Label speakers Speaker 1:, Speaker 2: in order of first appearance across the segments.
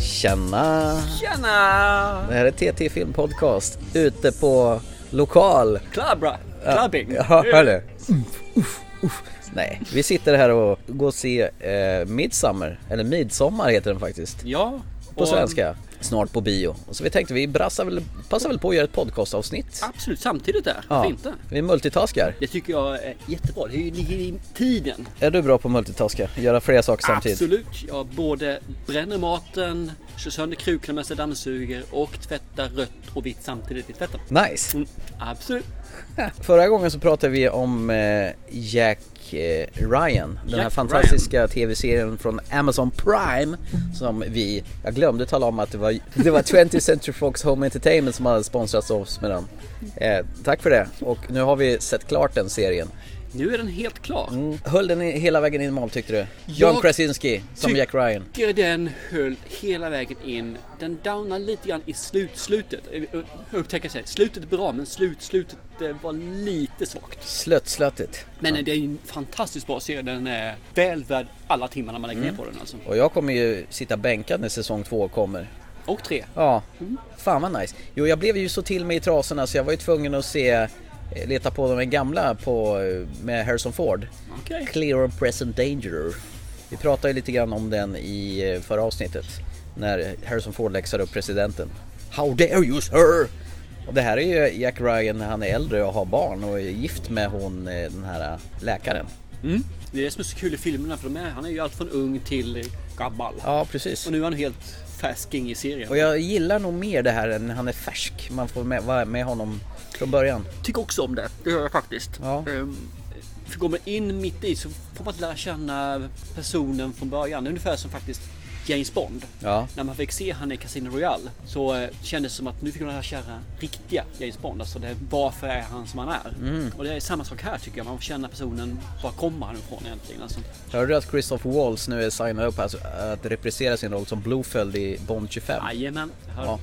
Speaker 1: Tjena!
Speaker 2: Tjena!
Speaker 1: Det här är TT Filmpodcast ute på lokal.
Speaker 2: Clubra! Clubbing!
Speaker 1: Ja, hör du? Nej, vi sitter här och går och ser eh, Midsummer, eller Midsommar heter den faktiskt.
Speaker 2: Ja,
Speaker 1: På
Speaker 2: och-
Speaker 1: svenska, snart på bio. Och så vi tänkte vi brassar väl, passar väl på att göra ett podcastavsnitt.
Speaker 2: Absolut, samtidigt där.
Speaker 1: Ja,
Speaker 2: Varför inte?
Speaker 1: Vi multitaskar.
Speaker 2: Det tycker jag är jättebra. Det är ju- ligger i tiden.
Speaker 1: Är du bra på att multitaska? Göra flera saker samtidigt?
Speaker 2: Absolut. Jag både bränner maten, kör sönder krukorna medan jag dammsuger och tvättar rött och vitt samtidigt i tvätten.
Speaker 1: Nice!
Speaker 2: Mm, absolut.
Speaker 1: Förra gången så pratade vi om eh, Jack eh, Ryan, den
Speaker 2: Jack
Speaker 1: här fantastiska tv-serien från Amazon Prime som vi, jag glömde tala om att det var, det var 20th Century Fox Home Entertainment som hade sponsrat oss med den. Eh, tack för det och nu har vi sett klart den serien.
Speaker 2: Nu är den helt klar.
Speaker 1: Mm. Höll den i, hela vägen in i mål tyckte du? John
Speaker 2: Jag
Speaker 1: Krasinski som
Speaker 2: tyck-
Speaker 1: Jack Ryan.
Speaker 2: tycker den höll hela vägen in. Den downar lite grann i slut, slutet. Upptäcker sig. Slutet är bra men slut, slutet eh, var lite svagt.
Speaker 1: Slött-slöttigt.
Speaker 2: Men det är ju en fantastiskt bra serie. Den är väl värd alla timmarna man lägger
Speaker 1: Mm.
Speaker 2: ner på den alltså.
Speaker 1: Och jag kommer ju sitta bänkad när säsong två kommer.
Speaker 2: Och tre.
Speaker 1: Ja, fan vad nice. Jo, jag blev ju så till mig i trasorna så jag var ju tvungen att se, eh, leta på de gamla på, eh, med Harrison Ford.
Speaker 2: Okej.
Speaker 1: Clear and Present Danger. Vi pratade ju lite grann om den i eh, förra avsnittet. När Harrison Ford läxade upp presidenten. How dare you sir! Och det här är ju Jack Ryan när han är äldre och har barn och är gift med hon, eh, den här läkaren.
Speaker 2: Mm. Det är det som är så kul i filmerna för de är, han är ju allt från ung till gammal.
Speaker 1: Ja, precis.
Speaker 2: Och nu är han helt färsking i serien.
Speaker 1: Och jag gillar nog mer det här än när han är färsk. Man får med, vara med honom från början.
Speaker 2: tycker också om det. Det gör jag faktiskt.
Speaker 1: Ja.
Speaker 2: Ehm, För går man in mitt i så får man lära känna personen från början. Ungefär som faktiskt James Bond.
Speaker 1: Ja.
Speaker 2: När man fick se han i Casino Royale så eh, kändes det som att nu fick man lära känna riktiga James Bond. Alltså det, varför är han som han är?
Speaker 1: Mm.
Speaker 2: Och det är samma sak här tycker jag. Man får känna personen. Var kommer han ifrån egentligen? Alltså,
Speaker 1: Hörde du att Christoph Waltz nu är signad upp alltså, att reprisera sin roll som Blofeld i Bond 25?
Speaker 2: Jajamän. Hör-
Speaker 1: Ja,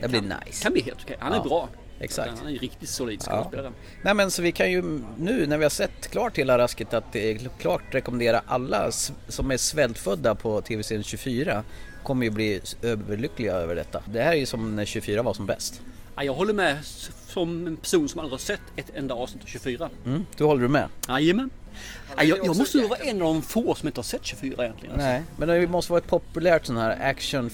Speaker 1: det blir nice.
Speaker 2: Kan bli helt okej. Han är
Speaker 1: Ja,
Speaker 2: bra.
Speaker 1: exakt.
Speaker 2: Han är ju riktigt solid
Speaker 1: Ja.
Speaker 2: skådespelare.
Speaker 1: Nej men så vi kan ju nu när vi har sett klart hela rasket att det är klart rekommendera alla s- som är svältfödda på tv-serien 24 kommer ju bli s- överlyckliga över detta. Det här är ju som när 24 var som bäst.
Speaker 2: Ja, jag håller med s- som en person som aldrig har sett ett enda avsnitt av 24.
Speaker 1: Mm, du håller du med?
Speaker 2: Jajamän. Ja, jag, jag måste nog vara en av de få som inte har sett 24 egentligen. alltså.
Speaker 1: Nej, men det måste vara ett populärt sån här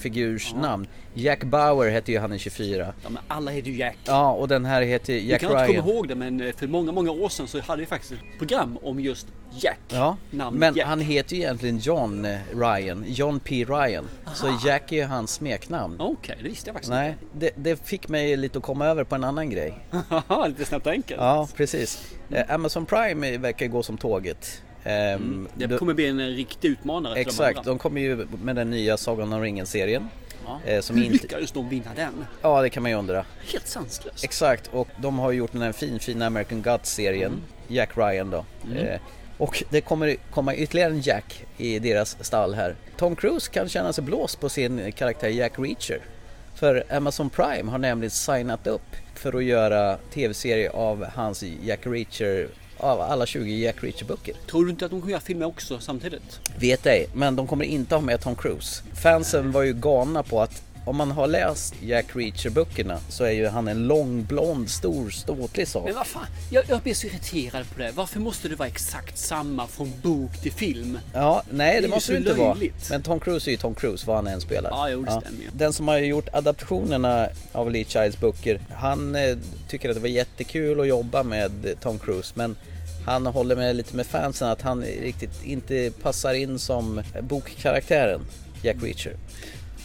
Speaker 1: actionfigursnamn. Jack Bauer hette ju han i 24.
Speaker 2: Ja, men alla heter ju Jack.
Speaker 1: Ja, och den här heter
Speaker 2: Jag
Speaker 1: Jack
Speaker 2: kan inte
Speaker 1: Ryan.
Speaker 2: komma ihåg det men eh, för många, många år sedan så hade vi faktiskt ett program om just Jack.
Speaker 1: Ja,
Speaker 2: Namnet
Speaker 1: men
Speaker 2: Jack.
Speaker 1: han heter ju egentligen John eh, Ryan, John P Ryan. Så Jack är ju hans smeknamn.
Speaker 2: Okej, det visste jag faktiskt
Speaker 1: Nej, det, det fick mig lite att komma över på en annan grej.
Speaker 2: inte. Haha, Lite snabbt och enkelt.
Speaker 1: Ja, precis.
Speaker 2: Mm.
Speaker 1: Eh, Amazon Prime eh, verkar gå som tåget. Ehm,
Speaker 2: Mm, Det
Speaker 1: då-
Speaker 2: kommer bli en eh, riktig utmanare
Speaker 1: Exakt,
Speaker 2: till de andra.
Speaker 1: de kommer ju med den nya Sagan om ringen-serien.
Speaker 2: Ja.
Speaker 1: eh, som
Speaker 2: Hur
Speaker 1: inte-
Speaker 2: lyckades de vinna den?
Speaker 1: Ja, det kan man ju undra.
Speaker 2: Helt sanslöst.
Speaker 1: Exakt, och de har ju gjort den här fin, fina American Gods-serien, Jack Ryan då. Eh, och det kommer komma ytterligare en Jack i deras stall här. Tom Cruise kan känna sig blåst på sin karaktär Jack Reacher. För Amazon Prime har nämligen signat upp för att göra tv-serie av hans Jack Reacher, av alla 20 Jack Reacher-böcker.
Speaker 2: Tror du inte att de kommer göra filmer också samtidigt?
Speaker 1: Vet ej, men de kommer inte ha med Tom Cruise. Fansen var ju galna på att om man har läst Jack Reacher-böckerna så är ju han en lång, blond, stor, ståtlig sak.
Speaker 2: Men vad fan, jag, jag blir så irriterad på det. Varför måste det vara exakt samma från bok till film?
Speaker 1: Ja, nej det,
Speaker 2: Det är ju
Speaker 1: måste
Speaker 2: så
Speaker 1: det inte vara.
Speaker 2: löjligt.
Speaker 1: Men Tom Cruise är ju Tom Cruise vad han än spelar.
Speaker 2: Ja, jo, det stämmer ju.
Speaker 1: Den som har gjort adaptionerna av Lee Childs böcker, han eh, tycker att det var jättekul att jobba med eh, Tom Cruise men han håller med lite med fansen att han riktigt inte passar in som bokkaraktären Jack Reacher.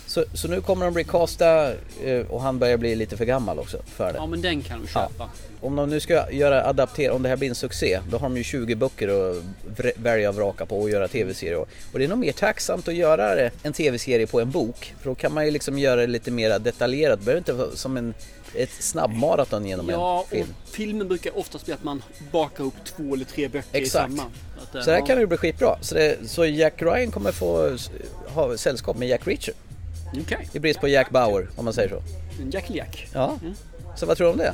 Speaker 1: Så, så nu kommer de recasta eh, och han börjar bli lite för gammal också för det.
Speaker 2: Ja men den kan de
Speaker 1: Ja.
Speaker 2: köpa.
Speaker 1: Om de nu ska göra adaptera, om det här blir en succé, då har de ju 20 böcker att vr- välja och vraka på och göra tv-serier. av. Och det är nog mer tacksamt att göra det- en tv-serie på en bok, för då kan man ju liksom göra det lite mer detaljerat. Det behöver inte vara som en, ett snabbmaraton genom
Speaker 2: Ja,
Speaker 1: en
Speaker 2: och
Speaker 1: film.
Speaker 2: filmen brukar oftast bli att man bakar upp två eller tre böcker
Speaker 1: Exakt.
Speaker 2: i samma. Att, eh,
Speaker 1: Så det här
Speaker 2: ja.
Speaker 1: kan ju bli skitbra. Så, det, så Jack Ryan kommer få s- ha sällskap med Jack Reacher.
Speaker 2: Okej,
Speaker 1: I brist på Jack Bauer, om man säger så.
Speaker 2: en Jack Jack.
Speaker 1: Ja. Så vad tror du om det?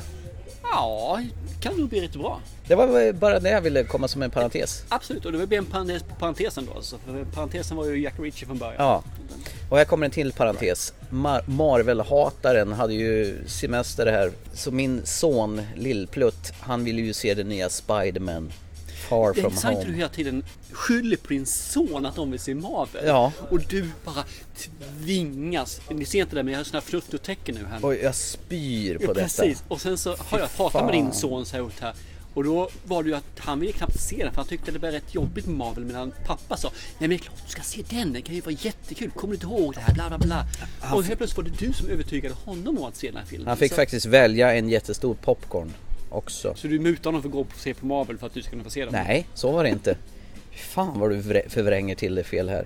Speaker 2: Ja, kan nog bli rätt bra.
Speaker 1: Det var väl bara det jag ville komma som en parentes.
Speaker 2: Absolut, och det blir en parentes på parentesen då alltså. För parentesen var ju Jack Reacher från början.
Speaker 1: Ja. Och här kommer en till parentes. Mar- Marvel-hataren hade ju semester här. Så min son Lillplutt, han ville ju se den nya Spiderman. Far
Speaker 2: Det är
Speaker 1: from
Speaker 2: intressant hur du
Speaker 1: home.
Speaker 2: hela tiden skyller på din son att de vill se Marvel.
Speaker 1: Ja.
Speaker 2: Och du bara tvingas. Ni ser inte det men jag har sådana tecken nu här.
Speaker 1: Och jag spyr på
Speaker 2: Ja,
Speaker 1: detta.
Speaker 2: Precis, och sen så har jag pratat med din son så här gjort här. Och då var det ju att han ville knappt se den för han tyckte det var rätt jobbigt med Marvel medan pappa sa Nej men det är klart du ska se den, den kan ju vara jättekul, kommer du inte ihåg det här bla bla bla. Och helt plötsligt var det du som övertygade honom om att se den här filmen.
Speaker 1: Han fick
Speaker 2: så,
Speaker 1: faktiskt välja en jättestor popcorn också.
Speaker 2: så du mutade honom för att gå och se på Marvel för att du ska kunna få se den?
Speaker 1: Nej, så var det inte. Fan vad du vrä- förvränger till det fel här.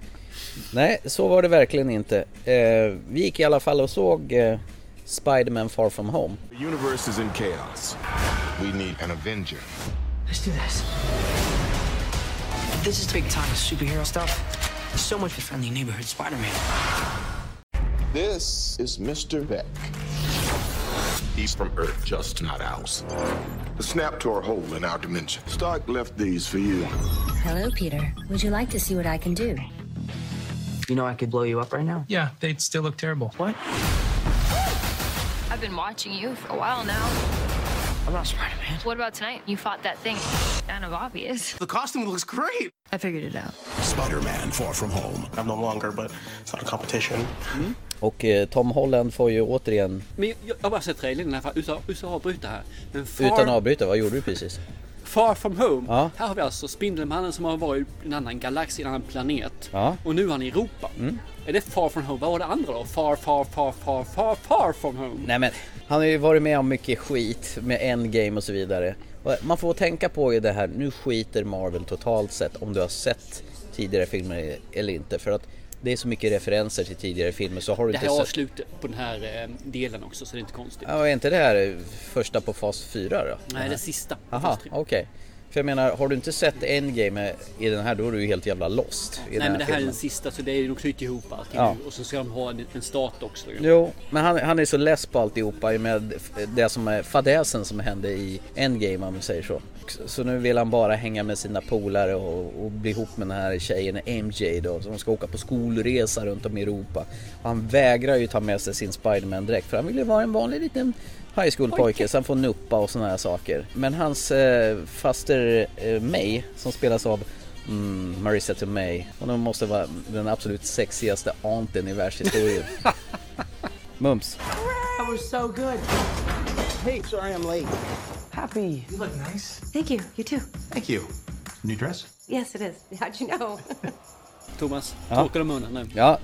Speaker 1: Nej, så var det verkligen inte. Eh, vi gick i alla fall och såg eh, Spiderman Far From Home.
Speaker 3: The universe is in chaos.
Speaker 4: We need an Avenger.
Speaker 5: Let's do this. This is big time superhero stuff. So much for friendly neighborhood Spider-Man.
Speaker 4: This is Mr. Beck.
Speaker 3: He's from Earth, just not ours.
Speaker 4: The snap tore a hole in our dimension.
Speaker 3: Stark left these for you.
Speaker 6: Hello, Peter. Would you like to see what I can do?
Speaker 5: You know I could blow you up right now.
Speaker 7: Yeah, they'd still look terrible.
Speaker 5: What?
Speaker 8: I've been watching you for a while now.
Speaker 5: I'm not Spider-Man.
Speaker 8: What about tonight? You fought that thing. Kind of obvious.
Speaker 9: The costume looks great.
Speaker 8: I figured it out.
Speaker 10: Spider-Man Far From Home.
Speaker 9: I'm no longer, but it's not a competition.
Speaker 1: Och eh, Tom Holland får ju återigen,
Speaker 2: Men jag, jag har bara sett trailern i alla fall, utan utan att avbryta här. Men far,
Speaker 1: utan att avbryta, vad gjorde du precis?
Speaker 2: far from home.
Speaker 1: Ja.
Speaker 2: Här har vi alltså Spindelmannen som har varit i en annan galax, i en annan planet.
Speaker 1: Ja. Mm.
Speaker 2: Och nu är han i Europa. Är det far from home? Vad var det andra då? Far, far, far, far, far, far from home.
Speaker 1: Nej men, han har ju varit med om mycket skit med Endgame och så vidare. Och Man får tänka på i det här, nu skiter Marvel totalt sett om du har sett tidigare filmer eller inte. För att det är så mycket referenser till tidigare filmer så har du
Speaker 2: Det
Speaker 1: inte
Speaker 2: här är
Speaker 1: sett...
Speaker 2: avslutet på den här eh, delen också så det är inte konstigt.
Speaker 1: Ja, är inte det här första på fas 4 då?
Speaker 2: Nej, det är sista.
Speaker 1: Aha,
Speaker 2: Fast-
Speaker 1: okej. För jag menar, har du inte sett Endgame i den här då är du ju helt jävla lost i den
Speaker 2: Nej
Speaker 1: här
Speaker 2: men det här är
Speaker 1: filmen.
Speaker 2: den sista så det är nog knutit ihop allting
Speaker 1: Ja.
Speaker 2: nu. Och så ska de ha en, en start också. ju.
Speaker 1: Jo, men han, han är så less på alltihopa med det som är fadäsen som hände i Endgame om man säger så. Så nu vill han bara hänga med sina polare och, och bli ihop med den här tjejen MJ då. Så de ska åka på skolresa runt om i Europa. Och han vägrar ju ta med sig sin Spiderman-dräkt för han vill ju vara en vanlig liten high school-pojke. Så han får nuppa och sådana här saker. Men hans eh, faster eh, May som spelas av Mm, Marissa Tomei. Hon måste vara den absolut sexigaste aunten i världshistorien. Mums.
Speaker 5: That was so good. Hey, sorry I'm late. Happy.
Speaker 10: You look nice.
Speaker 6: Thank you. You too.
Speaker 10: Thank you. New dress?
Speaker 6: Yes, it is. How'd you know?
Speaker 2: Thomas, torka dem munnen nu.
Speaker 1: Ja,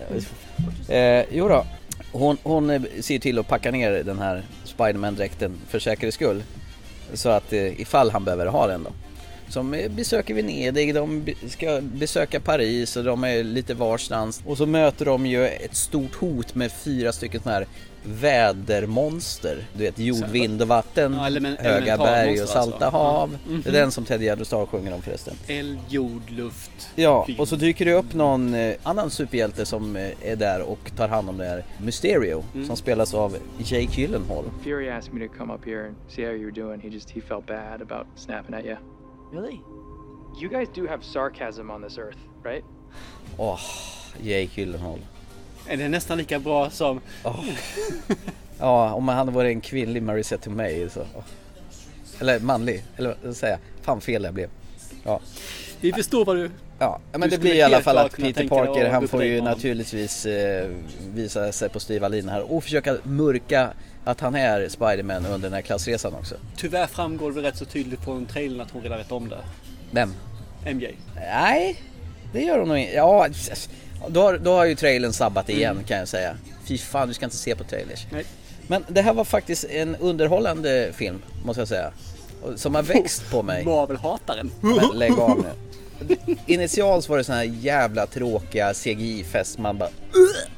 Speaker 1: eh, jo då. Hon, hon eh, ser till att packa ner den här Spiderman-dräkten för säkerhets skull. Så att eh, ifall han behöver ha den då. Som eh, besöker Venedig, de be- ska besöka Paris och de är lite varstans. Och så möter de ju ett stort hot med fyra stycken sådana här vädermonster. Du vet jord, vind och vatten,
Speaker 2: Ja, elemen-
Speaker 1: höga berg
Speaker 2: elementalmonster
Speaker 1: och salta
Speaker 2: alltså.
Speaker 1: hav. Det är den som Ted Gärdestad sjunger om förresten.
Speaker 2: Eld, jord, luft.
Speaker 1: Ja,
Speaker 2: vind.
Speaker 1: och så dyker det upp någon eh, annan superhjälte som eh, är där och tar hand om det här Mysterio
Speaker 2: Mm.
Speaker 1: som spelas av Jake Gyllenhaal.
Speaker 7: Fury asked me to come up here and see how you were doing. He just he felt bad about snapping at you.
Speaker 5: Really?
Speaker 7: You guys do have sarcasm on this earth, right?
Speaker 1: Åh, Jake Gyllenhaal.
Speaker 2: Är det nästan lika bra som...
Speaker 1: Ja, om han hade varit en kvinnlig Marissa Tomei så... åh. Eller manlig, eller vad säger jag? Fan fel jag blev. Ja,
Speaker 2: Vi förstår vad du...
Speaker 1: ja men
Speaker 2: Du
Speaker 1: det
Speaker 2: skulle
Speaker 1: blir i alla
Speaker 2: helt
Speaker 1: fall
Speaker 2: klart
Speaker 1: att
Speaker 2: kunna
Speaker 1: Peter
Speaker 2: tänka dig
Speaker 1: Parker
Speaker 2: att
Speaker 1: han
Speaker 2: gå
Speaker 1: får
Speaker 2: på
Speaker 1: ju
Speaker 2: dejt med honom.
Speaker 1: naturligtvis eh, visa sig på styva linan här och försöka mörka att han är Spiderman under den här klassresan också.
Speaker 2: Tyvärr framgår det väl rätt så tydligt på en trailern att hon redan vet om det.
Speaker 1: Vem?
Speaker 2: MJ.
Speaker 1: Nej, det gör hon nog inte. Ja, s- då har, då har ju trailern sabbat
Speaker 2: Mm.
Speaker 1: igen kan jag säga. Fy fan, du ska inte se på trailers.
Speaker 2: Nej.
Speaker 1: Men det här var faktiskt en underhållande film, måste jag säga. Och- Som har växt på mig.
Speaker 2: Marvel-hataren.
Speaker 1: Men lägg av nu. Initialt var det såna här jävla tråkiga CGI-fest. Man bara... "Ugh!"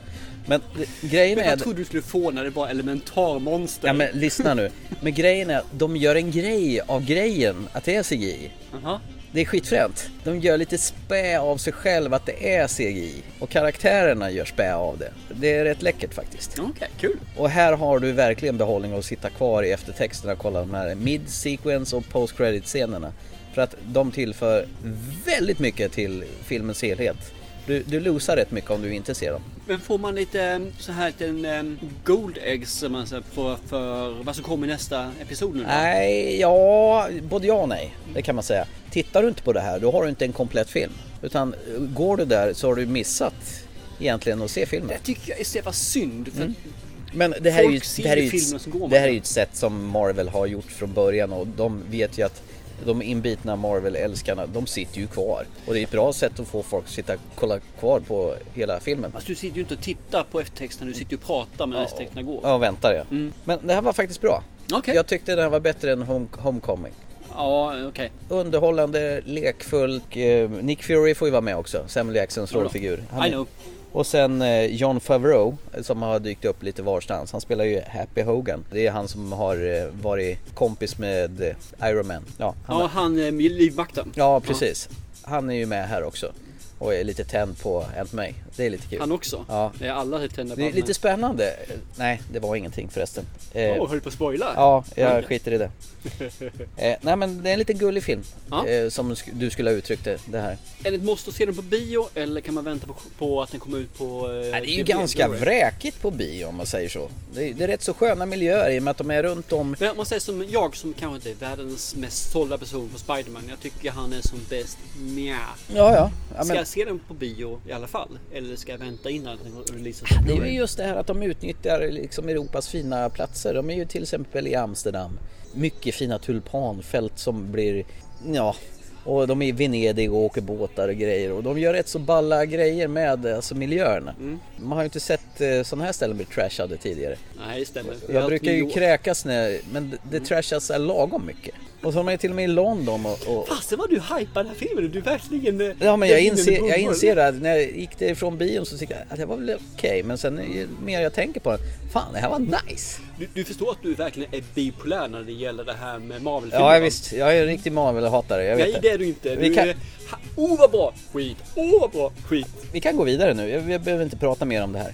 Speaker 1: Men det- grejen
Speaker 2: Men
Speaker 1: är...
Speaker 2: jag trodde du skulle få när det var elementarmonster.
Speaker 1: Ja men lyssna nu. Men grejen är att de gör en grej av grejen att det är CGI.
Speaker 2: Jaha.
Speaker 1: Det är skitfränt. De gör lite spä av sig själv att det är CGI. Och karaktärerna gör spä av det. Det är rätt läckert faktiskt.
Speaker 2: Okej, kul.
Speaker 1: Och här har du verkligen behållning att sitta kvar i eftertexterna och kolla de här mid-sequence och post-credit-scenerna. För att de tillför väldigt mycket till filmens helhet. Du, du losar rätt mycket om du inte ser dem.
Speaker 2: Men får man lite eh, så här liten eh, gold eggs som man säger för, för vad som kommer i nästa episod nu? då?
Speaker 1: Nej, ja, både ja och nej. Det kan man säga. Tittar du inte på det här, då har du inte en komplett film. Utan eh, går du där så har du missat egentligen att se filmen.
Speaker 2: Det tycker jag är så jävla synd. För
Speaker 1: Mm. Men det här, är ju,
Speaker 2: Folk ser
Speaker 1: det, här är ju
Speaker 2: filmen och så går
Speaker 1: ett,
Speaker 2: man.
Speaker 1: det här är ju ett sätt som Marvel har gjort från början och de vet ju att de inbitna Marvel-älskarna, de sitter ju kvar. Och det är ett bra sätt att få folk att sitta kolla kvar på hela filmen.
Speaker 2: Alltså, du sitter ju inte och tittar på eftertexterna, du sitter ju och pratar medan eftertexterna går.
Speaker 1: Ja, väntar jag. Men det här var faktiskt bra.
Speaker 2: Mm. Okej.
Speaker 1: Jag tyckte det här var bättre än Home- Homecoming.
Speaker 2: Ja, okej.
Speaker 1: Underhållande, lekfull. eh, Nick Fury får ju vara med också, Samuel Jacksons rollfigur. Han
Speaker 2: I
Speaker 1: är-
Speaker 2: know.
Speaker 1: Och sen eh, John Favreau eh, som har dykt upp lite varstans. Han spelar ju Happy Hogan. Det är han som har eh, varit kompis med eh, Iron Man. Ja, han,
Speaker 2: Ja, han eh, livvakten.
Speaker 1: ja precis. Han är ju med här också. Och är lite tänd på Aunt May. Det är lite kul.
Speaker 2: Han också?
Speaker 1: Ja.
Speaker 2: Det är alla helt tända på
Speaker 1: Det är
Speaker 2: honom.
Speaker 1: lite spännande. Eh, Nej, det var ingenting förresten. Eh,
Speaker 2: Åh, höll du på att spoila?
Speaker 1: Ja, jag skiter i det. Eh, nej men det är en liten gullig film.
Speaker 2: Ja.
Speaker 1: Eh, som sk- du skulle ha uttryckt det, det här.
Speaker 2: Är det ett måste att se den på bio eller kan man vänta på, på att den kommer ut på... eh,
Speaker 1: Ja, det är ju
Speaker 2: DVD?
Speaker 1: ganska vräkigt på bio om man säger så. Det är, det är rätt så sköna miljöer i och med att de är runt om.
Speaker 2: Men om man säger som jag som kanske inte är världens mest sålda person på Spiderman. Jag tycker han är som bäst Nja.
Speaker 1: Ja, ja. ja
Speaker 2: Ska
Speaker 1: men,
Speaker 2: jag se den på bio i alla fall? Eller ska jag vänta innan den releasas?
Speaker 1: det är ju just det här att de utnyttjar liksom Europas fina platser. De är ju till exempel i Amsterdam. Mycket fina tulpanfält som blir, ja, och de är i Venedig och åker båtar och grejer. Och de gör rätt så balla grejer med alltså, miljöerna. Man har ju inte sett eh, sådana här ställen bli trashade tidigare.
Speaker 2: Nej, det stämmer.
Speaker 1: Jag brukar ju
Speaker 2: New York.
Speaker 1: kräkas när, men det, det trashas lagom mycket. Och så har man ju till och med i London och, och
Speaker 2: Fasen vad Ah, du hypar den här filmen. Du är verkligen... eh,
Speaker 1: Ja men jag
Speaker 2: verkligen
Speaker 1: inser,
Speaker 2: bullhorn.
Speaker 1: jag inser det, här. när jag gick därifrån bion så tyckte jag att det var väl okej men sen ju mer jag tänker på det, fan det här var nice!
Speaker 2: Du, du förstår att du verkligen är bipolär när det gäller det här med Marvel-filmer?
Speaker 1: Ja jag
Speaker 2: va?
Speaker 1: visst, jag är en riktig Marvel-hatare, jag
Speaker 2: Nej
Speaker 1: vet
Speaker 2: det
Speaker 1: det.
Speaker 2: är du inte.
Speaker 1: Vi
Speaker 2: Du
Speaker 1: kan-
Speaker 2: är... Ha, oh vad bra! Skit! Oh vad bra! Skit!
Speaker 1: Vi kan gå vidare nu, jag, jag behöver inte prata mer om det här.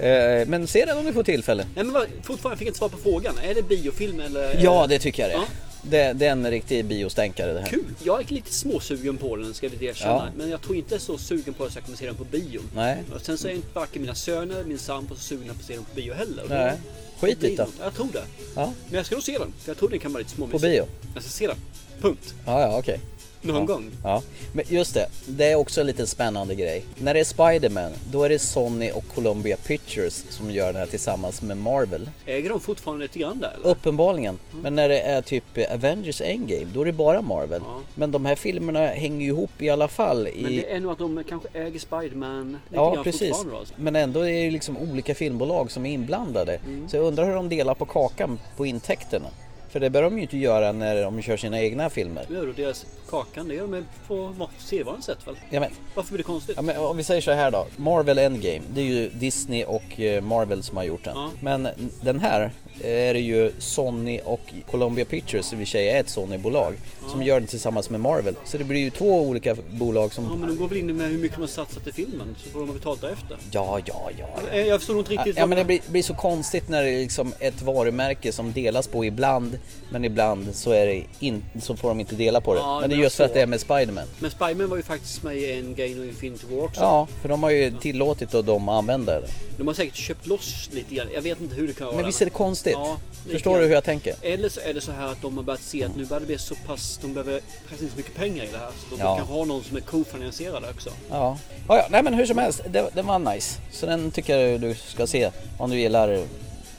Speaker 1: Eh, Men se den om du får tillfälle.
Speaker 2: Nej men vad, fortfarande fick jag inte svar på frågan. Är det biofilm eller?
Speaker 1: Ja det tycker jag det är.
Speaker 2: Eh, Ja.
Speaker 1: Det, det är en riktig biostänkare det här.
Speaker 2: Kul! Jag är lite småsugen på den ska jag erkänna.
Speaker 1: Ja.
Speaker 2: Men jag tror inte jag är så sugen på att jag kommer se den på bio.
Speaker 1: Nej.
Speaker 2: Och sen så är inte varken mina söner, min sambo så sugna på att se den på bio heller.
Speaker 1: Nej. Skit i
Speaker 2: Det
Speaker 1: det
Speaker 2: blir
Speaker 1: då.
Speaker 2: något. Jag tror det.
Speaker 1: Ja,
Speaker 2: Men jag ska nog se den. För jag tror den kan vara lite
Speaker 1: på
Speaker 2: småmysig.
Speaker 1: bio.
Speaker 2: Jag ska se den. Punkt.
Speaker 1: Ja, ja okej.
Speaker 2: Någon gång.
Speaker 1: Ja, men just det. Det är också en liten spännande grej. När det är Spiderman, då är det Sony och Columbia Pictures som gör det här tillsammans med Marvel.
Speaker 2: Äger de fortfarande lite grann där eller?
Speaker 1: Uppenbarligen. Men när det är typ Avengers Endgame, då är det bara Marvel. Men de här filmerna hänger ju ihop i alla fall. I...
Speaker 2: Men det är nog att de kanske äger Spiderman lite
Speaker 1: Ja
Speaker 2: grann
Speaker 1: precis,
Speaker 2: fortfarande då, alltså.
Speaker 1: men ändå är det ju liksom olika filmbolag som är inblandade.
Speaker 2: Mm.
Speaker 1: Så jag undrar hur de delar på kakan på intäkterna. För det bör de ju inte göra när de kör sina egna filmer.
Speaker 2: Nu är det deras kakan, det gör de väl på sedvanligt sätt väl?
Speaker 1: Ja, men,
Speaker 2: Varför blir det konstigt?
Speaker 1: Ja, men om vi säger så här då. Marvel Endgame, det är ju Disney och eh, Marvel som har gjort den.
Speaker 2: Ja.
Speaker 1: Men den här eh, är det ju Sony och Columbia Pictures, som i och för sig är ett Sony-bolag, som gör den tillsammans med Marvel. Så det blir ju två olika bolag
Speaker 2: Ja
Speaker 1: som...
Speaker 2: men de går väl in med hur mycket de har satsat i filmen så får de ha betalt därefter.
Speaker 1: Ja, ja, ja.
Speaker 2: Eh, Jag förstår nog inte
Speaker 1: ja.
Speaker 2: riktigt.
Speaker 1: Ja
Speaker 2: vad-
Speaker 1: men det blir, blir så konstigt när det är liksom ett varumärke som delas på ibland men ibland så, är det in, så får de inte dela på det.
Speaker 2: Ja,
Speaker 1: men det är
Speaker 2: men
Speaker 1: just för
Speaker 2: så.
Speaker 1: att det är med Spiderman.
Speaker 2: Men Spiderman var ju faktiskt med i Endgame och Infinity War också.
Speaker 1: Ja, för de har ju tillåtit då dem att använda det.
Speaker 2: De har säkert köpt loss lite grann. Jag vet inte hur det kan vara.
Speaker 1: Men visst är det konstigt?
Speaker 2: Ja, lite
Speaker 1: Förstår
Speaker 2: grann.
Speaker 1: du hur jag tänker?
Speaker 2: Eller så är det så här att de har börjat se att nu börjar det bli så pass, de behöver pressa in så mycket pengar i det här. Så de
Speaker 1: Ja.
Speaker 2: kan ha någon som är kofinansierad också.
Speaker 1: Ja. Ja, ja, nej men hur som helst, det, den var nice. Så den tycker jag du ska se om du gillar.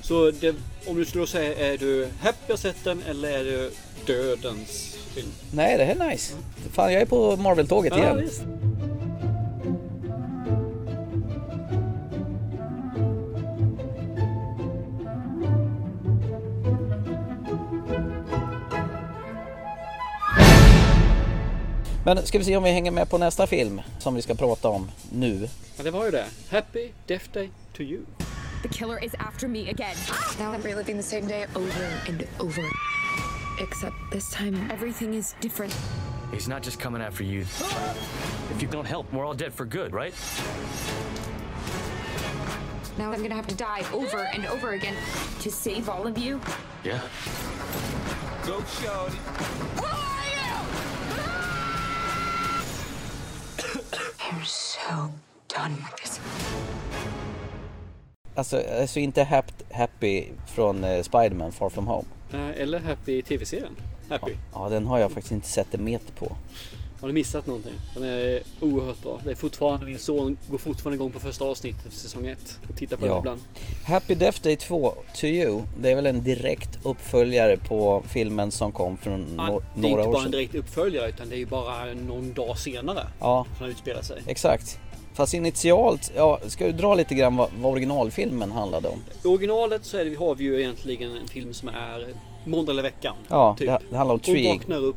Speaker 2: Så det, om du skulle då säga, är du happy att sett den eller är du dödens film?
Speaker 1: Nej, det här är nice. Fan, jag är på Marvel-tåget
Speaker 2: Ja,
Speaker 1: igen.
Speaker 2: visst.
Speaker 1: Men ska vi se om vi hänger med på nästa film som vi ska prata om nu.
Speaker 2: Ja, det var ju det. Happy Death Day to you.
Speaker 8: The killer is after me again.
Speaker 11: Now I'm reliving the same day over and over. Except this time, everything is different.
Speaker 12: He's not just coming after you. If you don't help, we're all dead for good, right?
Speaker 8: Now I'm gonna have to die over and over again to save all of you.
Speaker 12: Yeah.
Speaker 11: There's so
Speaker 8: so done with this.
Speaker 1: Alltså, alltså inte hap- Happy från eh, Spiderman Far From Home.
Speaker 2: Eh, Eller Happy TV-serien. Happy.
Speaker 1: Ja, den har jag faktiskt inte sett en meter på.
Speaker 2: Har du missat någonting? Den är oerhört bra. Det är fortfarande, min son går fortfarande igång på första avsnittet av säsong 1. Och tittar på
Speaker 1: Ja.
Speaker 2: det ibland.
Speaker 1: Happy Death Day 2, To You, det är väl en direkt uppföljare på filmen som kom från
Speaker 2: Ja,
Speaker 1: no-
Speaker 2: det är inte
Speaker 1: några år
Speaker 2: bara en
Speaker 1: sedan.
Speaker 2: direkt uppföljare utan det är ju bara någon dag senare
Speaker 1: Ja,
Speaker 2: som den utspelar sig.
Speaker 1: exakt. Fast initialt, ja, ska du dra lite grann vad, vad originalfilmen handlade om?
Speaker 2: I originalet så är det, har vi ju egentligen en film som är måndag eller veckan. typ.
Speaker 1: Ja, det, det handlar om
Speaker 2: Hon
Speaker 1: Tree,
Speaker 2: vaknar upp,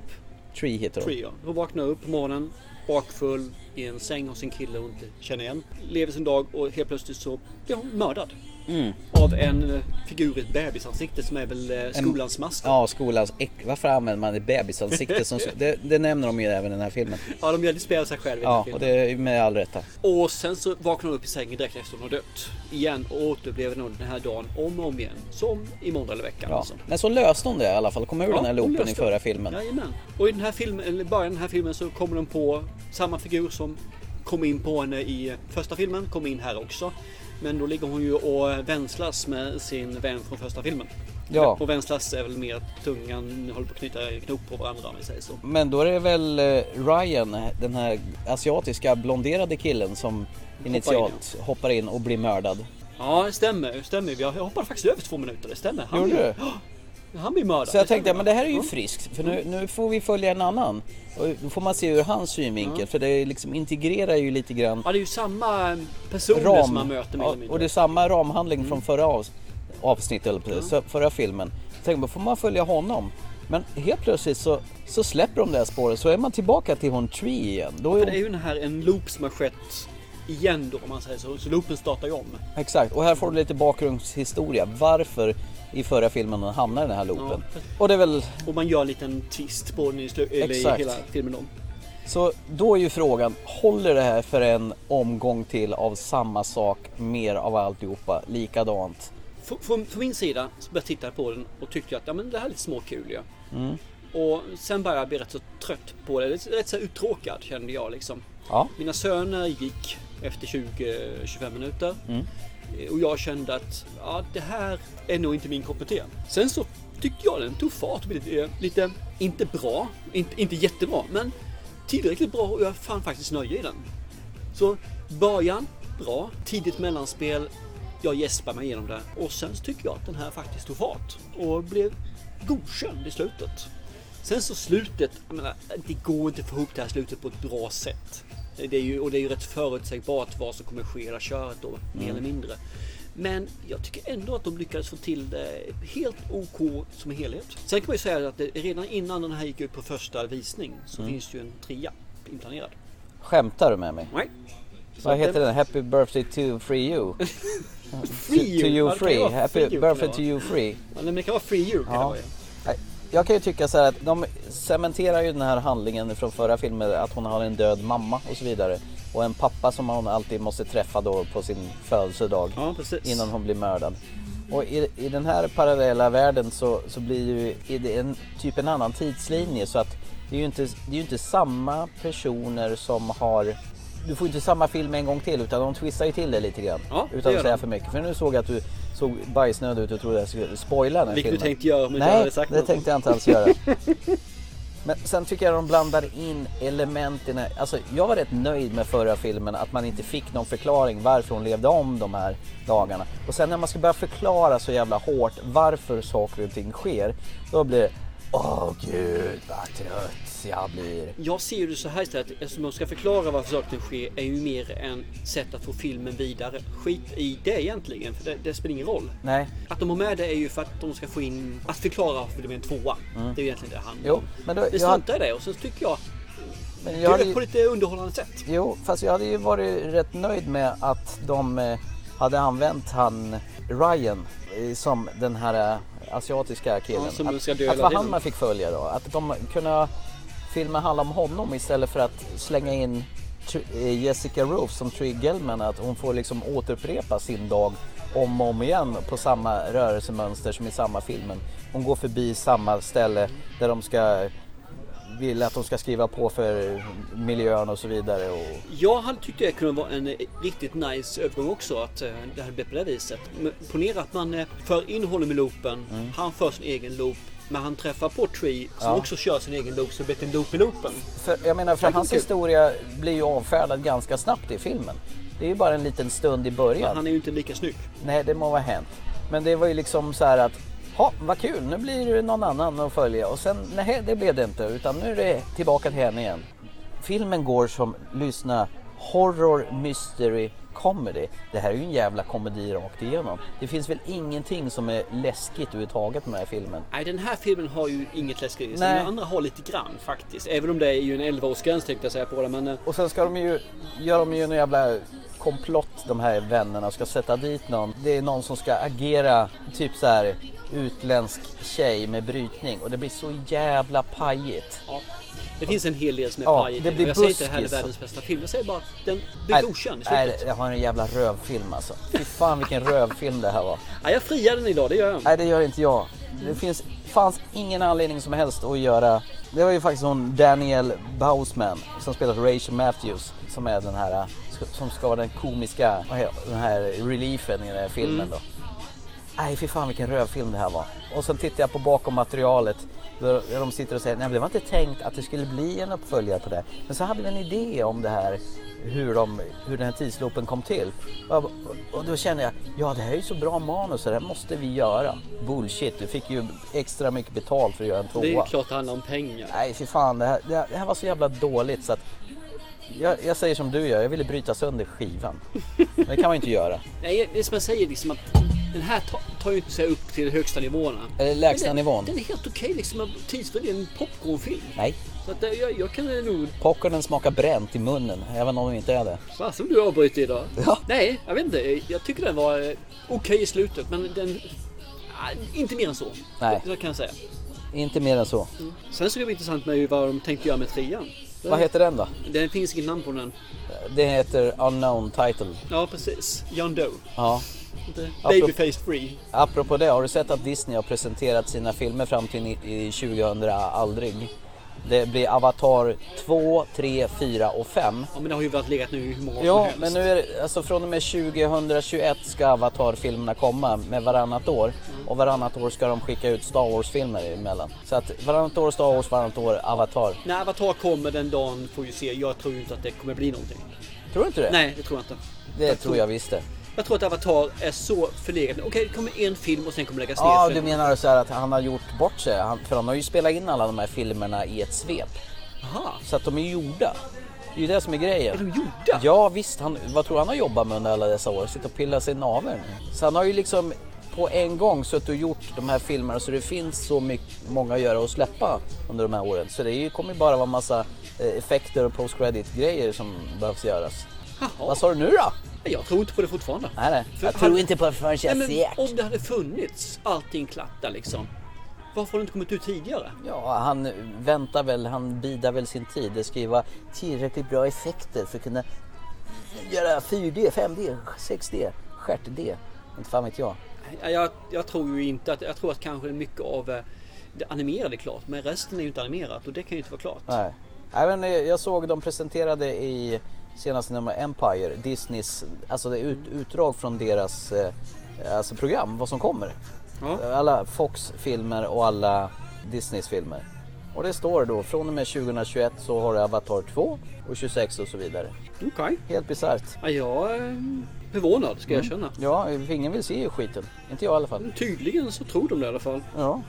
Speaker 1: Tree heter hon.
Speaker 2: Tree, ja. Hon vaknar upp på morgonen bakfull i en säng hos en kille hon inte känner igen. Lever sin dag och helt plötsligt så blir hon mördad.
Speaker 1: Mm.
Speaker 2: Av en eh, figur i ett bebisansikte som är väl eh, skolans mask.
Speaker 1: Ja, skolans äck. Varför använder man ett bebisansikte? Som, det, det nämner de ju även i den här filmen.
Speaker 2: Ja, de gör det spelar sig själv i den
Speaker 1: Ja, och
Speaker 2: filmen.
Speaker 1: det är med all rätt.
Speaker 2: Och sen så vaknar hon upp i sängen direkt efter hon har dött. Igen och återupplever hon den här dagen om och om igen. Som i måndag eller veckan.
Speaker 1: Ja.
Speaker 2: Alltså.
Speaker 1: Men så löste hon det i alla fall, kom ur den här
Speaker 2: hon
Speaker 1: loopen i
Speaker 2: löste
Speaker 1: förra
Speaker 2: det.
Speaker 1: filmen.
Speaker 2: Jajamän. Och i den här filmen, eller i början av den här filmen så kommer de på samma figur som kom in på henne i första filmen, kom in här också. Men då ligger hon ju och vänslas med sin vän från första filmen.
Speaker 1: Ja.
Speaker 2: Och vänslas är väl mer att tungan håller på att knyta knop på varandra om vi säger så.
Speaker 1: Men då är det väl eh, Ryan, den här asiatiska blonderade killen som initialt hoppar in, och blir mördad.
Speaker 2: Ja, det stämmer. Det stämmer. Jag hoppade faktiskt över två minuter, det stämmer. Han
Speaker 1: Gjorde
Speaker 2: blir-
Speaker 1: du?
Speaker 2: Ja, Han blir mördad.
Speaker 1: Så jag tänkte,
Speaker 2: stämmer.
Speaker 1: men det här är ju
Speaker 2: Ja.
Speaker 1: friskt för nu, nu får vi följa en annan. Och då får man se ur hans synvinkel
Speaker 2: Ja.
Speaker 1: för det är liksom integrerar ju lite grann
Speaker 2: Mm. Ja, det är ju samma personer som man möter med Mm.
Speaker 1: ja, och det är samma ramhandling från förra avs- avsnittet, eller precis, så- förra filmen. Tänk då får man följa honom. Men helt plötsligt så, så släpper de det här spåret så är man tillbaka till hon Tree igen. Då är
Speaker 2: För
Speaker 1: hon...
Speaker 2: det är ju den här en loop som har skett igen då om man säger så. Så loopen startar ju om.
Speaker 1: Exakt, och här får du lite bakgrundshistoria. Varför i förra filmen hon hamnar i den här loopen. Och det är väl...
Speaker 2: Och man gör en liten twist på den i, slu- eller i
Speaker 1: Exakt.
Speaker 2: hela filmen om.
Speaker 1: Så då är ju frågan, håller det här för en omgång till av samma sak, mer av alltihopa, likadant?
Speaker 2: F- Från, från min sida så började jag titta på den och tyckte att ja, men det här är lite småkul ju.
Speaker 1: Mm.
Speaker 2: Och sen började jag bli rätt så trött på det. Rätt rätt så här uttråkad kände jag liksom.
Speaker 1: Ja.
Speaker 2: Mina söner gick efter 20-25 minuter. Eh,
Speaker 1: Mm.
Speaker 2: Och jag kände att ja, det här är nog inte min kopp te. Sen så tyckte jag den tog fart. och blev Lite, eh, lite inte bra, inte, inte jättebra, men tillräckligt bra och jag fann faktiskt nöje i den. Så början, bra. Tidigt mellanspel. Jag gäspar mig igenom det. Och sen så tycker jag att den här faktiskt tog fart och blev godkänd i slutet. Sen så slutet, jag menar, det går inte att få ihop det här slutet på ett bra sätt. Det är ju, och det är ju rätt förutsägbart vad som kommer ske i hela köret då, mer
Speaker 1: Mm.
Speaker 2: eller mindre. Men jag tycker ändå att de lyckades få till det helt OK som helhet. Sen kan man ju säga att det, redan innan den här gick ut på första visning så
Speaker 1: Mm.
Speaker 2: finns det ju en trea inplanerad.
Speaker 1: Skämtar du med mig?
Speaker 2: Nej. Så
Speaker 1: Vad
Speaker 2: att
Speaker 1: heter
Speaker 2: den-
Speaker 1: den? Happy birthday to free you?
Speaker 2: Free
Speaker 1: To, to
Speaker 2: you. Ja,
Speaker 1: you
Speaker 2: det kan ju
Speaker 1: free.
Speaker 2: vara
Speaker 1: Happy
Speaker 2: free you kan det
Speaker 1: birthday
Speaker 2: vara.
Speaker 1: to you free.
Speaker 2: Ja, men det kan vara free you. Kan det vara, ja.
Speaker 1: Nej, Jag kan ju tycka så här att de cementerar ju den här handlingen från förra filmen att hon har en död mamma och så vidare. Och en pappa som hon alltid måste träffa då på sin födelsedag innan hon blir mördad. Och i, i den här parallella världen så, så blir ju i det en, typ en annan tidslinje så att det är ju inte, det är ju inte samma personer som har du får inte samma film en gång till utan de twistar ju till det lite grann.
Speaker 2: Ja, det
Speaker 1: utan
Speaker 2: gör
Speaker 1: att säga
Speaker 2: de.
Speaker 1: för mycket. För nu såg jag att du såg bajsnödig ut och trodde jag skulle spoila den här
Speaker 2: Vilket du
Speaker 1: filmen.
Speaker 2: tänkte göra om inte jag
Speaker 1: Nej,
Speaker 2: hade sagt
Speaker 1: det
Speaker 2: något.
Speaker 1: tänkte jag inte alls göra. Men sen tycker jag de blandar in elementen. Alltså, jag var rätt nöjd med förra filmen att man inte fick någon förklaring varför hon levde om de här dagarna. Och sen när man ska börja förklara så jävla hårt varför saker och ting sker, då blir det Åh gud vad trött jag blir.
Speaker 2: Jag ser ju det så här istället, eftersom man ska förklara varför saker sker är ju mer en sätt att få filmen vidare. Skit i det egentligen, för det, det spelar ingen roll.
Speaker 1: Nej.
Speaker 2: Att de har med det är ju för att de ska få in, att förklara varför det blir en tvåa.
Speaker 1: Mm.
Speaker 2: Det är ju egentligen det det handlar
Speaker 1: Jo,
Speaker 2: om.
Speaker 1: men då-
Speaker 2: det
Speaker 1: jag-
Speaker 2: struntar i det och sen tycker jag,
Speaker 1: Men
Speaker 2: jag
Speaker 1: jag
Speaker 2: gör
Speaker 1: hade
Speaker 2: det
Speaker 1: ju-
Speaker 2: på lite underhållande sätt.
Speaker 1: Jo, fast jag hade ju varit rätt nöjd med att de eh, hade använt han Ryan eh, som den här eh, asiatiska killen.
Speaker 2: Ja, som ska
Speaker 1: att
Speaker 2: dö
Speaker 1: att
Speaker 2: hela
Speaker 1: vad han
Speaker 2: tiden.
Speaker 1: man fick följa då. Att de kunde filma handla om honom istället för att slänga in Tr- eh, Jessica Roof som Tree Gellman. Att hon får liksom återupprepa sin dag om och om igen på samma rörelsemönster som i samma filmen. Hon går förbi samma ställe där de ska vill att de ska skriva på för miljön och så vidare. Och...
Speaker 2: Jag hade tyckt det kunde vara en eh, riktigt nice övergång också att eh, det hade blivit på det här viset. Men ponera att man eh, för in honom i loopen,
Speaker 1: Mm.
Speaker 2: han för sin egen loop, men han träffar på Tree som
Speaker 1: Ja.
Speaker 2: också kör sin egen loop så det blir en loop i loopen.
Speaker 1: För, jag menar, för
Speaker 2: Det är
Speaker 1: hans
Speaker 2: kul.
Speaker 1: historia blir ju avfärdad ganska snabbt i filmen. Det är ju bara en liten stund i början.
Speaker 2: Men han är ju inte lika snygg.
Speaker 1: Nej, det må vara hänt. Men det var ju liksom så här att, ja, vad kul, nu blir det någon annan att följa. Och sen, nej, det blev det inte, utan nu är det tillbaka till henne igen. Filmen går som, lyssna, horror, mystery, comedy. Det här är ju en jävla komedi rakt igenom. Det finns väl ingenting som är läskigt överhuvudtaget med den här filmen.
Speaker 2: Nej, den här filmen har ju inget läskeri. i sig.
Speaker 1: Nej.
Speaker 2: Den andra har lite grann faktiskt. Även om det är ju en 11-årsgräns tänkte jag säga på det. Men eh,
Speaker 1: Och sen ska de ju, gör de ju en jävla komplott de här vännerna och ska sätta dit någon. Det är någon som ska agera typ så här utländsk tjej med brytning och det blir så jävla pajigt.
Speaker 2: det finns en hel del som är
Speaker 1: Ja,
Speaker 2: pajigt.
Speaker 1: det
Speaker 2: i den.
Speaker 1: blir
Speaker 2: Och Jag säger inte det här är
Speaker 1: buskis.
Speaker 2: världens bästa film. Jag säger bara att den blir godkänd i
Speaker 1: nej,
Speaker 2: slutet.
Speaker 1: det var en jävla rövfilm alltså. Fy fan vilken rövfilm det här var.
Speaker 2: Nej, jag friar den idag, det gör jag.
Speaker 1: Nej, det gör inte jag. Det finns, fanns ingen anledning som helst att göra... Det var ju faktiskt hon Daniel Bousman som spelar Rachel Matthews som är den här som ska vara den komiska, vad heter- den här reliefen i den här filmen
Speaker 13: Mm.
Speaker 1: då. Nej, fy fan vilken rövfilm det här var. Och sen tittar jag på bakom materialet där där de sitter och säger nej men det var inte tänkt att det skulle bli en uppföljare på det. Men så hade vi en idé om det här, hur, de, hur den här tidsloopen kom till. Och, jag bara- och då kände jag, ja det här är ju så bra manus så det här måste vi göra. Bullshit, du fick ju extra mycket betalt för att göra en tvåa.
Speaker 2: Det är ju klart det handlar om pengar.
Speaker 1: Nej, fy fan. Det här, det här, det här var så jävla dåligt så att jag, jag säger som du gör, jag ville bryta sönder skivan. Men det kan man ju inte göra.
Speaker 2: Nej, det är som jag säger liksom att den här ta- tar ju inte sig upp till högsta nivåerna.
Speaker 1: Eller lägsta
Speaker 2: Men den,
Speaker 1: nivån.
Speaker 2: Den är helt okej liksom. Tidsfri, det är en popcornfilm.
Speaker 1: Nej.
Speaker 2: Så att eh, jag, jag kan eh, nog...
Speaker 1: Popcornen smakar bränt i munnen, även om den inte är det.
Speaker 2: Fan, som du avbryter idag. Nej, jag vet inte. Jag tycker den var eh, okej i slutet, men den... ah, Inte mer än så.
Speaker 1: Nej.
Speaker 2: Det, det kan jag säga.
Speaker 1: Inte mer än så.
Speaker 2: Sen så är det intressant med ju vad de tänkte göra med trean.
Speaker 1: Vad heter den då?
Speaker 2: Det finns inget namn på den.
Speaker 1: Det heter Unknown Title.
Speaker 2: Ja, precis. John Doe.
Speaker 1: Ja.
Speaker 2: Inte-
Speaker 1: Apropå-
Speaker 2: Babyface Free.
Speaker 1: Apropå det, har du sett att Disney har presenterat sina filmer fram till ni- i 2000 aldrig? Det blir Avatar 2, 3, 4 och 5.
Speaker 2: Ja, men det har ju varit legat nu i hur många år som
Speaker 1: Ja,
Speaker 2: helst.
Speaker 1: men nu är det, alltså från och med 2021 ska Avatar-filmerna komma med varannat år. Och varannat år ska de skicka ut Star Wars-filmer emellan. Så att varannat år Star Wars, varannat år Avatar.
Speaker 2: När Avatar kommer den dagen får vi se. Jag tror ju inte att det kommer bli någonting.
Speaker 1: Tror du inte det?
Speaker 2: Nej, det tror jag inte.
Speaker 1: Det tror jag visst det.
Speaker 2: Jag tror att Avatar är så förlegat. Okej, det kommer en film och sen kommer det läggas ner.
Speaker 1: Ja,
Speaker 2: för-
Speaker 1: du menar så här att han har gjort bort sig? Han, för han har ju spelat in alla de här filmerna i ett svep.
Speaker 2: Aha.
Speaker 1: Så att de är gjorda. Det är ju det som är grejen.
Speaker 2: Är de gjorda?
Speaker 1: Ja, visst. Han, vad tror han har jobbat med under alla dessa år? Sitter och pillar sig i naveln. Så han har ju liksom på en gång suttit och gjort de här filmerna så det finns så mycket, många att göra och släppa under de här åren. Så det är ju, kommer ju bara vara massa eh, effekter och post credit grejer som behövs göras. Vad sa du nu då?
Speaker 2: Jag tror inte på det fortfarande.
Speaker 1: Nej, nej.
Speaker 2: För
Speaker 1: Jag tror
Speaker 2: hade-
Speaker 1: inte på det förrän jag
Speaker 2: Nej,
Speaker 1: ser.
Speaker 2: men om det hade funnits allting klart där liksom. Varför har det inte kommit ut tidigare?
Speaker 1: Ja, han väntar väl, han bidar väl sin tid. Det ska ju vara tillräckligt bra effekter för att kunna göra 4D, 5D, 6D, stjärt-D. Inte fan vet jag.
Speaker 2: Ja, Jag, jag tror ju inte att, jag tror att kanske mycket av eh, det animerade är klart, men resten är ju inte animerat och det kan ju inte vara klart.
Speaker 1: Nej. Även, eh, jag såg de presenterade i senaste nummer Empire, Disneys, alltså det är ut, utdrag från deras eh, alltså program, vad som kommer. Alla Fox-filmer och alla Disneys filmer. Och det står då från och med 2021 så har du Avatar 2 och 26 och så vidare.
Speaker 2: Okej.
Speaker 1: Helt bisarrt.
Speaker 2: Ja, jag är mm, förvånad ska jag
Speaker 1: Mm.
Speaker 2: erkänna.
Speaker 1: Ja, ingen vill se ju skiten. Inte jag i alla fall.
Speaker 2: Tydligen så tror de det i alla fall.
Speaker 1: Ja.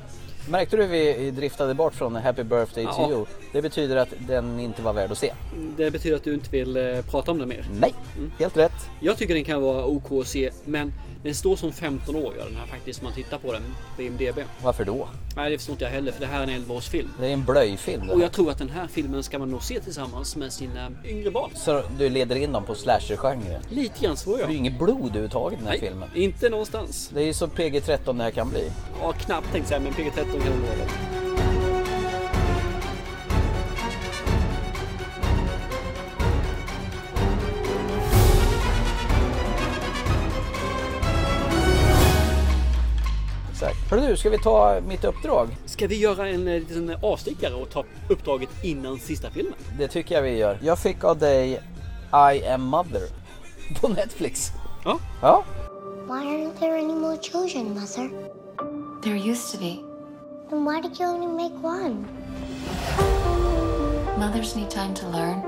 Speaker 1: Märkte du hur vi driftade bort från Happy birthday to
Speaker 2: Ja.
Speaker 1: you? Det betyder att den inte var värd att se.
Speaker 2: Det betyder att du inte vill eh, prata om den mer?
Speaker 1: Nej, helt rätt.
Speaker 2: Jag tycker den kan vara OK att se, men den står som 15 år gör den här faktiskt, om man tittar på den på IMDB.
Speaker 1: Varför då?
Speaker 2: Nej, det förstår inte jag heller, för det här är en 11-årsfilm.
Speaker 1: Det är en blöjfilm. det
Speaker 2: Och
Speaker 1: här.
Speaker 2: jag tror att den här filmen ska man nog se tillsammans med sina yngre barn.
Speaker 1: Så du leder in dem på slasher-genren?
Speaker 2: Lite grann så
Speaker 1: Det är
Speaker 2: ja.
Speaker 1: ju inget blod överhuvudtaget i den här
Speaker 2: Nej,
Speaker 1: filmen.
Speaker 2: Inte någonstans.
Speaker 1: Det är ju så PG-13 det här kan bli.
Speaker 2: Ja, knappt tänkte jag, men PG-13 kan det vara. det.
Speaker 1: Så exakt. Hörru du, ska vi ta mitt uppdrag?
Speaker 2: Ska vi göra en eh, liten avstickare och ta uppdraget innan sista filmen?
Speaker 1: Det tycker jag vi gör. Jag fick av dig I am mother på Netflix.
Speaker 2: Ja.
Speaker 1: Ja,
Speaker 13: Why aren't there any more children, Mother? There used to be. Then why did you only make one?
Speaker 14: Mothers need time to learn.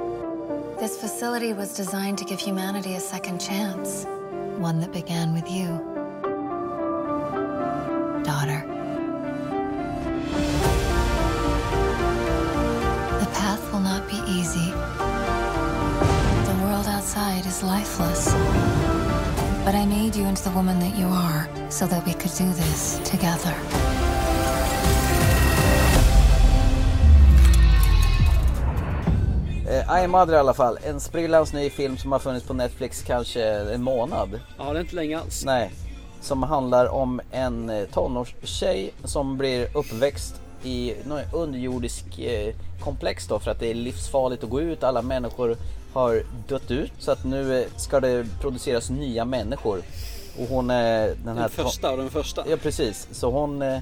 Speaker 14: This facility was designed to give humanity a second chance, one that began with you, daughter. The path will not be easy. The world outside is lifeless. But I made you into the woman that you are so that we could do this together.
Speaker 1: eh, I am mother i alla fall. En sprillans ny film som har funnits på Netflix kanske en månad.
Speaker 2: Ja, det är inte länge alls.
Speaker 1: Nej, som handlar om en eh, tonårstjej som blir uppväxt i någon underjordisk eh, komplex då för att det är livsfarligt att gå ut. Alla människor har dött ut så att nu eh, ska det produceras nya människor. Och hon är den här...
Speaker 2: Den första och den första.
Speaker 1: Ja precis, så hon... Eh,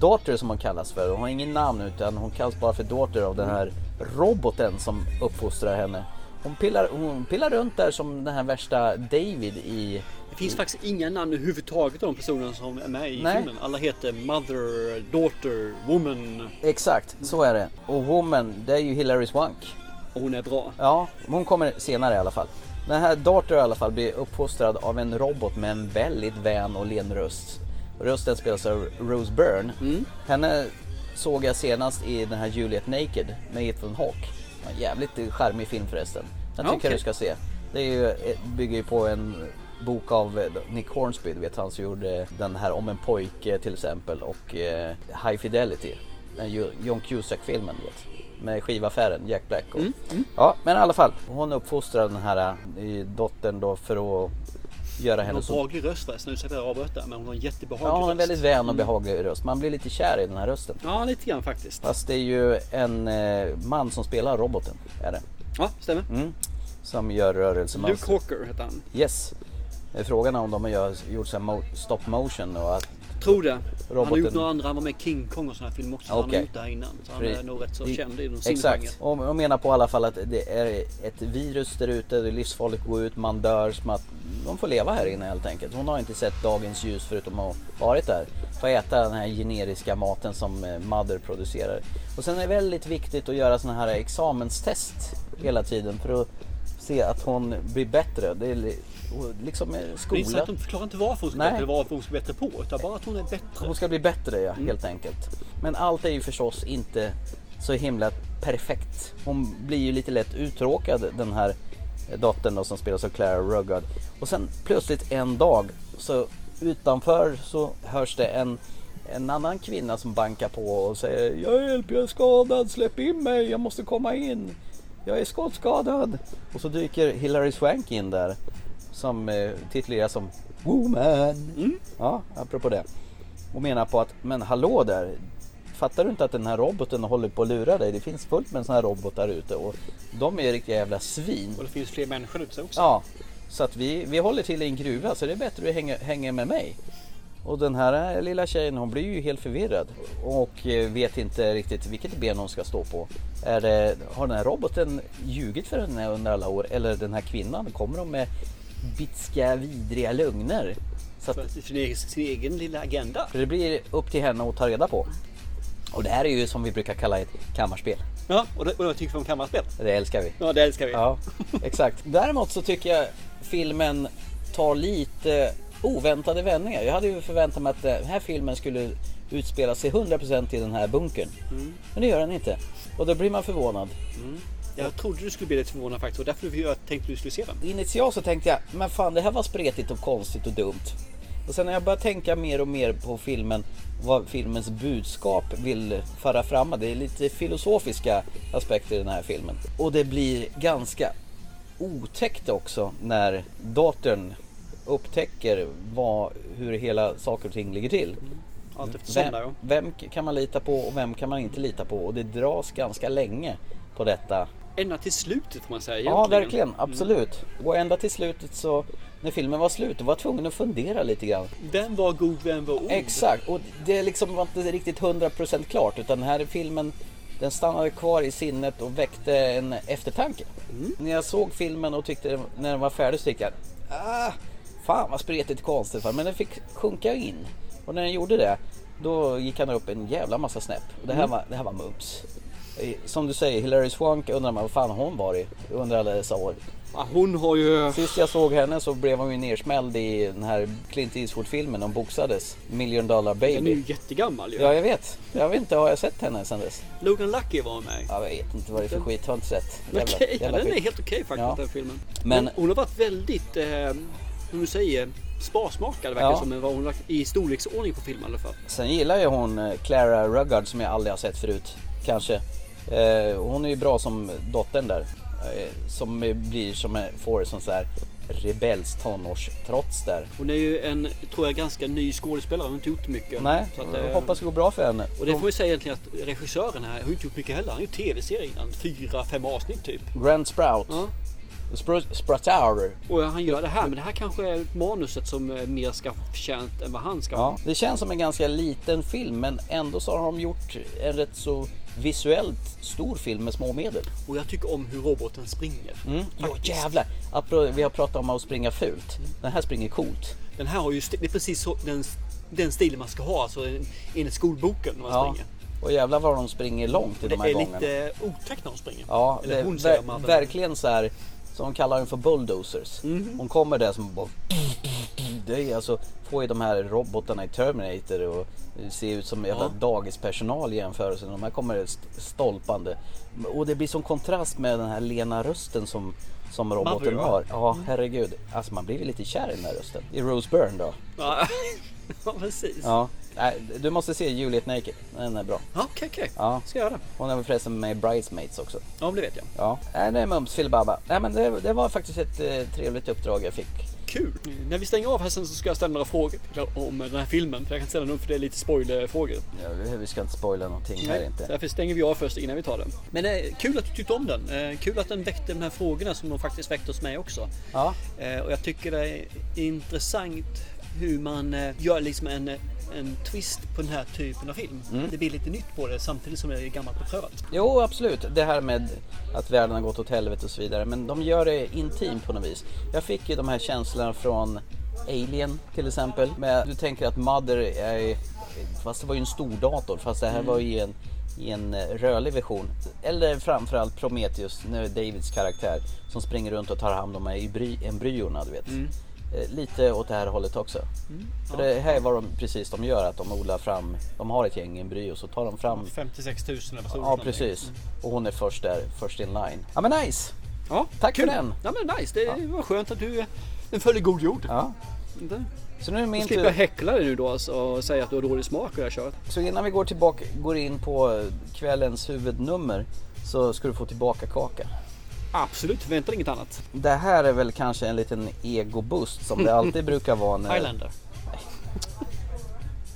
Speaker 1: Daughter som hon kallas för. Hon har ingen namn utan hon kallas bara för Daughter av den här roboten som uppfostrar henne. Hon pillar, hon pillar runt där som den här värsta David i...
Speaker 2: Det finns faktiskt inga namn överhuvudtaget av de personerna som är med i
Speaker 1: Nej.
Speaker 2: filmen. Alla heter Mother, Daughter, Woman.
Speaker 1: Exakt, så är det. Och Woman, det är ju Hillary Swank.
Speaker 2: Och hon är bra.
Speaker 1: Ja, hon kommer senare i alla fall. Den här Daughter i alla fall blir uppfostrad av en robot med en väldigt vän och len röst. Rösten spelas av Rose Byrne.
Speaker 2: Mm.
Speaker 1: Henne såg jag senast i den här Juliet Naked med Ethan Hawke. Det var En jävligt charmig film förresten. Den
Speaker 2: Ja,
Speaker 1: tycker jag du ska
Speaker 2: okej.
Speaker 1: se. Det är ju, eh, bygger ju på en bok av eh, Nick Hornby, du vet han som gjorde den här om en pojke till exempel och eh, High Fidelity. Den Ju- John Cusack-filmen du vet. Med skivaffären, Jack Black och...
Speaker 2: Mm,
Speaker 1: Ja, men i alla fall. Hon uppfostrar den här eh, dottern då för att göra
Speaker 2: Hon har
Speaker 1: henne
Speaker 2: en behaglig röst förresten. Nu säger jag avbröt där, men hon har en jättebehaglig
Speaker 1: Ja, hon är
Speaker 2: röst.
Speaker 1: väldigt vän och
Speaker 2: Mm.
Speaker 1: behaglig röst. Man blir lite kär i den här rösten.
Speaker 2: Ja, lite grann faktiskt.
Speaker 1: Fast det är ju en eh, man som spelar roboten, är det.
Speaker 2: Ja, stämmer.
Speaker 1: Mm. Som gör rörelsemönster.
Speaker 2: Luke Hawker heter han.
Speaker 1: Yes. Eh, Frågan är om de har gör- gjort så här mo- stop motion och att...
Speaker 2: Tror det. Han har
Speaker 1: Roboten.
Speaker 2: gjort några andra. Han var med i King Kong och sådana här filmer också. Han har
Speaker 1: Okej.
Speaker 2: gjort det här innan. Så han
Speaker 1: Pre-
Speaker 2: är nog rätt så
Speaker 1: i-
Speaker 2: känd inom sin genre.
Speaker 1: Exakt. Och och menar på i alla fall att det är ett virus där ute, det är livsfarligt att gå ut, man dör. Som att de får leva här inne helt enkelt. Hon har inte sett dagens ljus förutom att ha varit där. Få äta den här generiska maten som eh, Mother producerar. Och sen är det väldigt viktigt att göra sådana här examenstest hela tiden för att se att hon blir bättre. Det är li- och liksom eh,
Speaker 2: Det är inte så
Speaker 1: skola.
Speaker 2: att de förklarar inte varför hon ska
Speaker 1: Nej.
Speaker 2: bättre, eller varför hon ska bättre på. Utan bara att hon är bättre.
Speaker 1: Hon ska bli bättre ja, helt enkelt. Men allt är ju förstås inte så himla perfekt. Hon blir ju lite lätt uttråkad den här dottern då, som spelas av Clara Ruggard. Och sen plötsligt en dag så utanför så hörs det en, en annan kvinna som bankar på och säger Jag hjälper, jag är skadad, släpp in mig, jag måste komma in. Jag är skottskadad. Och så dyker Hillary Swank in där som eh, tituleras som Woman. Ja, apropå det. Och menar på att, men hallå där. Fattar du inte att den här roboten håller på att lura dig? Det finns fullt med sådana här robotar ute och de är riktiga jävla svin.
Speaker 2: Och det finns fler människor ute också.
Speaker 1: Ja, så att vi, vi håller till i en gruva så det är bättre att hänga, hänga med mig. Och den här eh, lilla tjejen hon blir ju helt förvirrad och eh, vet inte riktigt vilket ben hon ska stå på. Är det, har den här roboten ljugit för henne under alla år eller den här kvinnan, kommer de med bitska vidriga lögner? Så att,
Speaker 2: För sin egen, sin egen lilla agenda.
Speaker 1: för det blir upp till henne att ta reda på. Och det här är ju som vi brukar kalla ett kammarspel.
Speaker 2: Ja, och det, och jag tycker vi om kammarspel.
Speaker 1: Det älskar vi.
Speaker 2: Ja, det älskar vi.
Speaker 1: Ja, exakt. Däremot så tycker jag filmen tar lite oväntade vändningar. Jag hade ju förväntat mig att eh, den här filmen skulle utspela sig 100% i den här bunkern.
Speaker 2: Mm.
Speaker 1: Men det gör den inte. Och då blir man förvånad.
Speaker 2: Jag trodde du skulle bli lite förvånad faktiskt. Och därför vi- jag tänkte du skulle se den.
Speaker 1: Initialt så tänkte jag, men fan det här var spretigt och konstigt och dumt. Och sen när jag började tänka mer och mer på filmen, vad filmens budskap vill föra fram. Det är lite filosofiska aspekter i den här filmen. Och det blir ganska otäckt också när datorn upptäcker vad, hur hela saker och ting ligger till.
Speaker 2: Allt eftersom
Speaker 1: Vem,
Speaker 2: där ja.
Speaker 1: vem kan man lita på och vem kan man inte lita på? Och det dras ganska länge på detta
Speaker 2: Ända till slutet får man säga
Speaker 1: Ja,
Speaker 2: egentligen. Mm.
Speaker 1: verkligen. Absolut. Och ända till slutet så när filmen var slut och var tvungen att fundera lite grann.
Speaker 2: Vem var god, vem var ond?
Speaker 1: Exakt, och det liksom var inte riktigt 100% klart utan den här filmen den stannade kvar i sinnet och väckte en eftertanke.
Speaker 2: Mm.
Speaker 1: När jag såg filmen och tyckte den- när den var färdig så tyckte jag ah, fan vad spretigt och konstigt va?" men den fick sjunka in. Och när den gjorde det då gick han upp en jävla massa snäpp. Och det, här
Speaker 2: Mm.
Speaker 1: var, det här var mums. Eh, Som du säger, Hilary Swank undrar man vad fan hon var i under alla dessa år.
Speaker 2: Hon har ju...
Speaker 1: Sist jag såg henne så blev hon ju nersmälld i den här Clint Eastwood-filmen de boxades. Million Dollar Baby.
Speaker 2: Den är ju jättegammal ju.
Speaker 1: Ja, jag vet. Jag vet inte, har jag sett henne sen dess?
Speaker 2: Logan Lucky var med.
Speaker 1: Jag vet inte vad det är för
Speaker 2: Den-
Speaker 1: skit, har inte sett.
Speaker 2: Okej,
Speaker 1: Jävla-
Speaker 2: ja,
Speaker 1: jävla
Speaker 2: den är
Speaker 1: skit.
Speaker 2: helt okej faktiskt
Speaker 1: Ja.
Speaker 2: den filmen.
Speaker 1: Men-
Speaker 2: Men... Hon, hon har varit väldigt, eh, som du säger, sparsmakad verkar
Speaker 1: Ja.
Speaker 2: som. Men vad hon har lagt i storleksordning på filmen i alla fall.
Speaker 1: Sen gillar ju hon eh, Clara Ruggard som jag aldrig har sett förut. Kanske. Eh, hon är ju bra som dottern där. Eh, som eh, blir som, en- får sån så här rebells tonårstrots där.
Speaker 2: Hon är ju en, tror jag, ganska ny skådespelare. Hon har inte gjort mycket.
Speaker 1: Nej,
Speaker 2: Så att,
Speaker 1: jag
Speaker 2: eh,
Speaker 1: hoppas det går bra för henne.
Speaker 2: Och det får vi säga egentligen att regissören här har ju inte gjort mycket heller. Han har ju tv-serier innan. Fyra, fem avsnitt typ.
Speaker 1: Grand Sprout.
Speaker 2: Ja.
Speaker 1: Spr- Spratauer.
Speaker 2: Och han gör det här. Men det här kanske är manuset som eh, mer ska förtjänt än vad han ska ha.
Speaker 1: Ja, det känns som en ganska liten film men ändå så har de gjort en rätt så visuellt stor film med små medel.
Speaker 2: Och jag tycker om hur roboten springer.
Speaker 1: Mm. Jo jävlar! Apro- Vi har pratat om att springa fult. Den här springer coolt.
Speaker 2: Den här har ju, sti- det är precis så, den, den stilen man ska ha, alltså en- enligt skolboken när man
Speaker 1: Ja.
Speaker 2: springer.
Speaker 1: Och jävlar vad de springer långt i
Speaker 2: Det
Speaker 1: de här
Speaker 2: är
Speaker 1: gångerna.
Speaker 2: lite otäckt när de springer.
Speaker 1: Ja,
Speaker 2: Eller
Speaker 1: det,
Speaker 2: hon
Speaker 1: ver-
Speaker 2: säger man.
Speaker 1: verkligen så här som de kallar den för bulldozers.
Speaker 2: Mhm.
Speaker 1: Hon kommer där som bara... Det är alltså, får ju de här robotarna i Terminator och ser ut som jävla
Speaker 2: Ja.
Speaker 1: dagispersonal i jämförelse. De här kommer st- stolpande. Och det blir som kontrast med den här lena rösten som, som roboten
Speaker 2: Mother, va?
Speaker 1: har. Ja, herregud. Alltså man blir ju lite kär i den här rösten. I Rose Byrne då.
Speaker 2: Ja, ja precis.
Speaker 1: Ja. Nej, du måste se Juliet Naked. Den är bra.
Speaker 2: Ja, Okej, okej.
Speaker 1: Ja.
Speaker 2: Ska jag göra.
Speaker 1: Hon är väl förresten med i Bridesmaids också.
Speaker 2: Ja, men det vet jag.
Speaker 1: Ja, nej, det är mums filibabba. Nej men det, det var faktiskt ett eh, trevligt uppdrag jag fick.
Speaker 2: Kul! Mm, När vi stänger av här sen så ska jag ställa några frågor om den här filmen. För jag kan ställa dem för det är lite spoilerfrågor.
Speaker 1: Ja, vi- vi ska inte spoila någonting här
Speaker 2: Så
Speaker 1: inte.
Speaker 2: därför stänger vi av först innan vi tar den. Men eh, kul att du tyckte om den. Eh, kul att den väckte de här frågorna som de faktiskt väckte hos mig också.
Speaker 1: Ja.
Speaker 2: Eh, och jag tycker det är intressant hur man eh, gör liksom en, eh, en twist på den här typen av film.
Speaker 1: Mm.
Speaker 2: Det blir lite nytt på det samtidigt som det är gammalt beprövat.
Speaker 1: Jo absolut, det här med att världen har gått åt helvete och så vidare. Men de gör det intimt på något vis. Jag fick ju de här känslorna från Alien till exempel. Men du tänker att Mother är... Fast det var ju en stor dator fast det här
Speaker 2: Mm.
Speaker 1: var ju en, i en eh, rörlig version. Eller framförallt Prometheus, nu är Davids karaktär som springer runt och tar hand om de här embry- embryona du vet.
Speaker 2: Mm.
Speaker 1: Eh, Lite åt det här hållet också.
Speaker 2: Mm.
Speaker 1: För
Speaker 2: Ja.
Speaker 1: det här är vad de, precis de gör, att de odlar fram, de har ett gäng embryo så tar de fram
Speaker 2: 56 000 eller vad stod det
Speaker 1: Ja
Speaker 2: för
Speaker 1: precis,
Speaker 2: någonting?
Speaker 1: och hon är först där, först in line. Ja men nice!
Speaker 2: Ja,
Speaker 1: Tack
Speaker 2: kul.
Speaker 1: för den!
Speaker 2: Ja men nice, det var skönt att du eh, den följer god jord.
Speaker 1: Ja.
Speaker 2: Det.
Speaker 1: Så nu är
Speaker 2: Då
Speaker 1: min
Speaker 2: slipper jag
Speaker 1: tur.
Speaker 2: häckla dig nu då alltså, och säga att du har dålig smak och jag kör.
Speaker 1: Så innan vi går tillbaka, går in på eh, kvällens huvudnummer så ska du få tillbaka kaka.
Speaker 2: Absolut, förvänta dig inget annat.
Speaker 1: Det här är väl kanske en liten egoboost som det alltid brukar vara när...
Speaker 2: Highlander.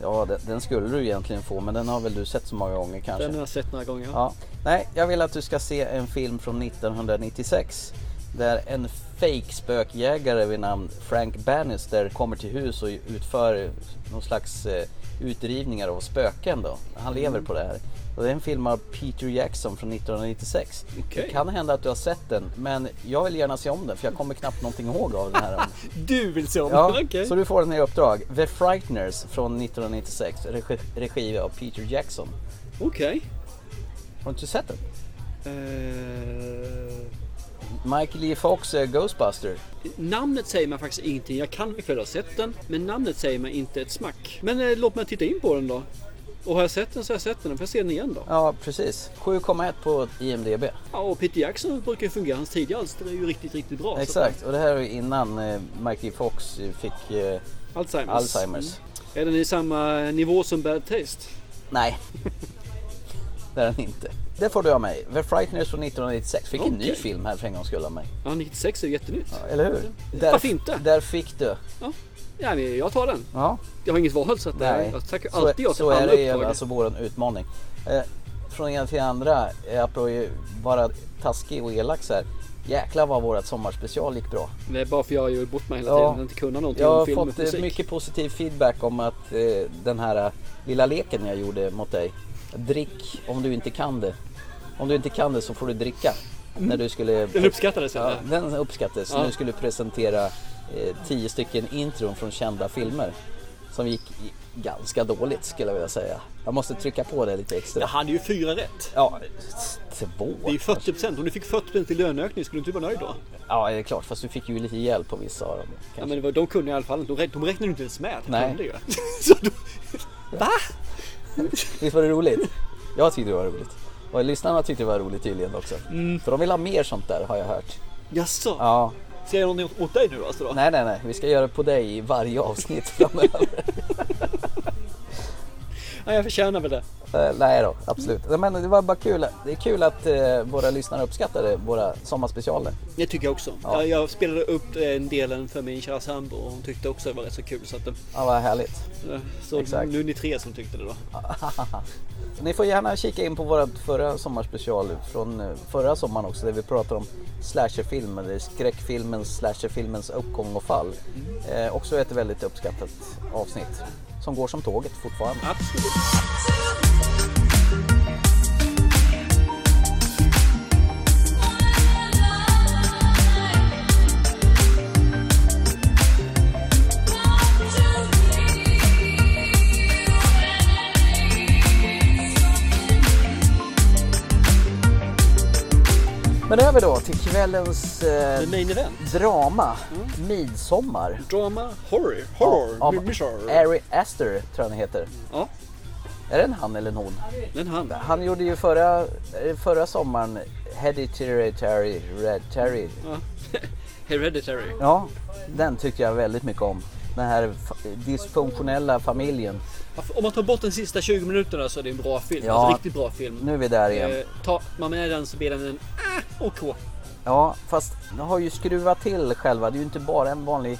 Speaker 1: Ja, den, den skulle du egentligen få men den har väl du sett så många gånger kanske?
Speaker 2: Den har jag sett några gånger.
Speaker 1: Ja. Nej, jag vill att du ska se en film från 1996 där en fake spökjägare vid namn Frank Bannister kommer till hus och utför någon slags eh, utrivningar av spöken då. Han lever
Speaker 2: Mm.
Speaker 1: på det här. Och det är en film av Peter Jackson från 1996.
Speaker 2: Okej.
Speaker 1: Det kan hända att du har sett den men jag vill gärna se om den för jag kommer knappt någonting ihåg av den här.
Speaker 2: Du vill se om
Speaker 1: Ja,
Speaker 2: den, okej.
Speaker 1: Så du får den i uppdrag. The Frighteners från 1996, regi, regi av Peter Jackson.
Speaker 2: Okej.
Speaker 1: Har du inte sett den?
Speaker 2: Eh,
Speaker 1: Michael J Fox är Ghostbuster.
Speaker 2: namnet säger mig faktiskt ingenting. Jag kan mycket väl ha sett den, men namnet säger mig inte ett smack. Men eh, låt mig titta in på den då. Och har jag sett den så har jag sett den. Då får jag se den igen då.
Speaker 1: Ja, precis. 7,1 på IMDB.
Speaker 2: Ja, och Peter Jackson brukar ju fungera. Hans tidiga alster är ju riktigt, riktigt bra. så-
Speaker 1: Exakt, och det här är innan eh, Michael J Fox eh, fick eh,
Speaker 2: Alzheimers. Mm.
Speaker 1: Alzheimers.
Speaker 2: Är den i samma nivå som Bad Taste?
Speaker 1: Nej. Det är den inte. Det får du av mig. The Frighteners från 1996. Fick en ny
Speaker 2: Okej.
Speaker 1: film här för en gångs skull av mig.
Speaker 2: Ja, 96 är ju jättenytt.
Speaker 1: Eller hur?
Speaker 2: Varför inte?
Speaker 1: Där fick du.
Speaker 2: Ja, men jag tar den.
Speaker 1: Ja.
Speaker 2: Jag har inget val så att
Speaker 1: Nej.
Speaker 2: jag tackar
Speaker 1: Så,
Speaker 2: alltid ja till
Speaker 1: så är
Speaker 2: alla
Speaker 1: det ju
Speaker 2: uppdrag.
Speaker 1: alltså vår utmaning. Eh, från en till andra, eh, apropå ju bara taskig och elak så här. Jäklar vad vårt sommarspecial gick bra.
Speaker 2: Det är bara för jag har ju bott mig hela tiden och inte kunnat någonting
Speaker 1: jag
Speaker 2: om
Speaker 1: har
Speaker 2: film och
Speaker 1: fått eh,
Speaker 2: musik.
Speaker 1: mycket positiv feedback om att eh, den här eh, lilla leken jag gjorde mot dig, drick om du inte kan det. Om du inte kan det så får du dricka. När du skulle...
Speaker 2: Mm. Den uppskattades,
Speaker 1: ja,
Speaker 2: eller?
Speaker 1: Den uppskattades.
Speaker 2: Ja.
Speaker 1: Nu skulle du presentera eh, tio stycken intron från kända filmer. Som gick i- ganska dåligt skulle jag vilja säga. Jag måste trycka på det lite extra.
Speaker 2: Jag hade ju fyra rätt.
Speaker 1: Ja, två.
Speaker 2: Det är ju 40 procent. Om du fick 40 procent i löneökning skulle du inte vara nöjd då?
Speaker 1: Ja, det är klart. Fast du fick ju lite hjälp på vissa av dem.
Speaker 2: Ja, men det var- de kunde i alla fall inte. De rä- de räknade ju inte ens med att de
Speaker 1: Nej.
Speaker 2: kunde ju. Så då... Va?
Speaker 1: Visst var det roligt? Jag tyckte det var roligt. Och lyssnarna tyckte det var roligt tydligen också. För de vill ha mer sånt där har jag hört.
Speaker 2: Jaså?
Speaker 1: Ja.
Speaker 2: Ska jag göra någonting åt dig nu alltså då?
Speaker 1: Nej, nej, nej. Vi ska göra det på dig i varje avsnitt framöver.
Speaker 2: Ja, jag förtjänar väl det.
Speaker 1: Eh, nej då, absolut. Nej, Men det var bara kul. Det är kul att eh, våra lyssnare uppskattade våra sommarspecialer.
Speaker 2: Det tycker jag också.
Speaker 1: Ja.
Speaker 2: Jag, jag spelade upp eh, en delen för min kära sambo och hon tyckte också det var rätt så kul. Så, att, eh,
Speaker 1: Ja, vad härligt.
Speaker 2: så
Speaker 1: Exakt.
Speaker 2: nu är ni tre som tyckte det då.
Speaker 1: Ni får gärna kika in på vårt förra sommarspecial från eh, förra sommaren också där vi pratade om slasherfilm eller skräckfilmens, slasherfilmens uppgång och fall. Eh, också ett väldigt uppskattat avsnitt som går som tåget fortfarande.
Speaker 2: Absolut.
Speaker 1: Men över då till kvällens eh,
Speaker 2: main
Speaker 1: drama,
Speaker 2: Mm.
Speaker 1: midsommar.
Speaker 2: Drama, horror, horror,
Speaker 1: av
Speaker 2: mystery.
Speaker 1: Ari Aster tror jag han heter.
Speaker 2: Ja.
Speaker 1: Är det en han eller en hon?
Speaker 2: Den han.
Speaker 1: Han gjorde ju förra, eh, förra sommaren Hereditary Red Terry.
Speaker 2: Ja. Hereditary.
Speaker 1: Ja, den tyckte jag väldigt mycket om. Den här fa- dysfunktionella familjen.
Speaker 2: Om man tar bort de sista 20 minuterna så är det en bra film.
Speaker 1: Ja.
Speaker 2: Alltså, riktigt bra film.
Speaker 1: Nu är vi där igen.
Speaker 2: Eh, tar man med den så blir den en ah, OK.
Speaker 1: Ja, fast den har ju skruvat till själva. Det är ju inte bara en vanlig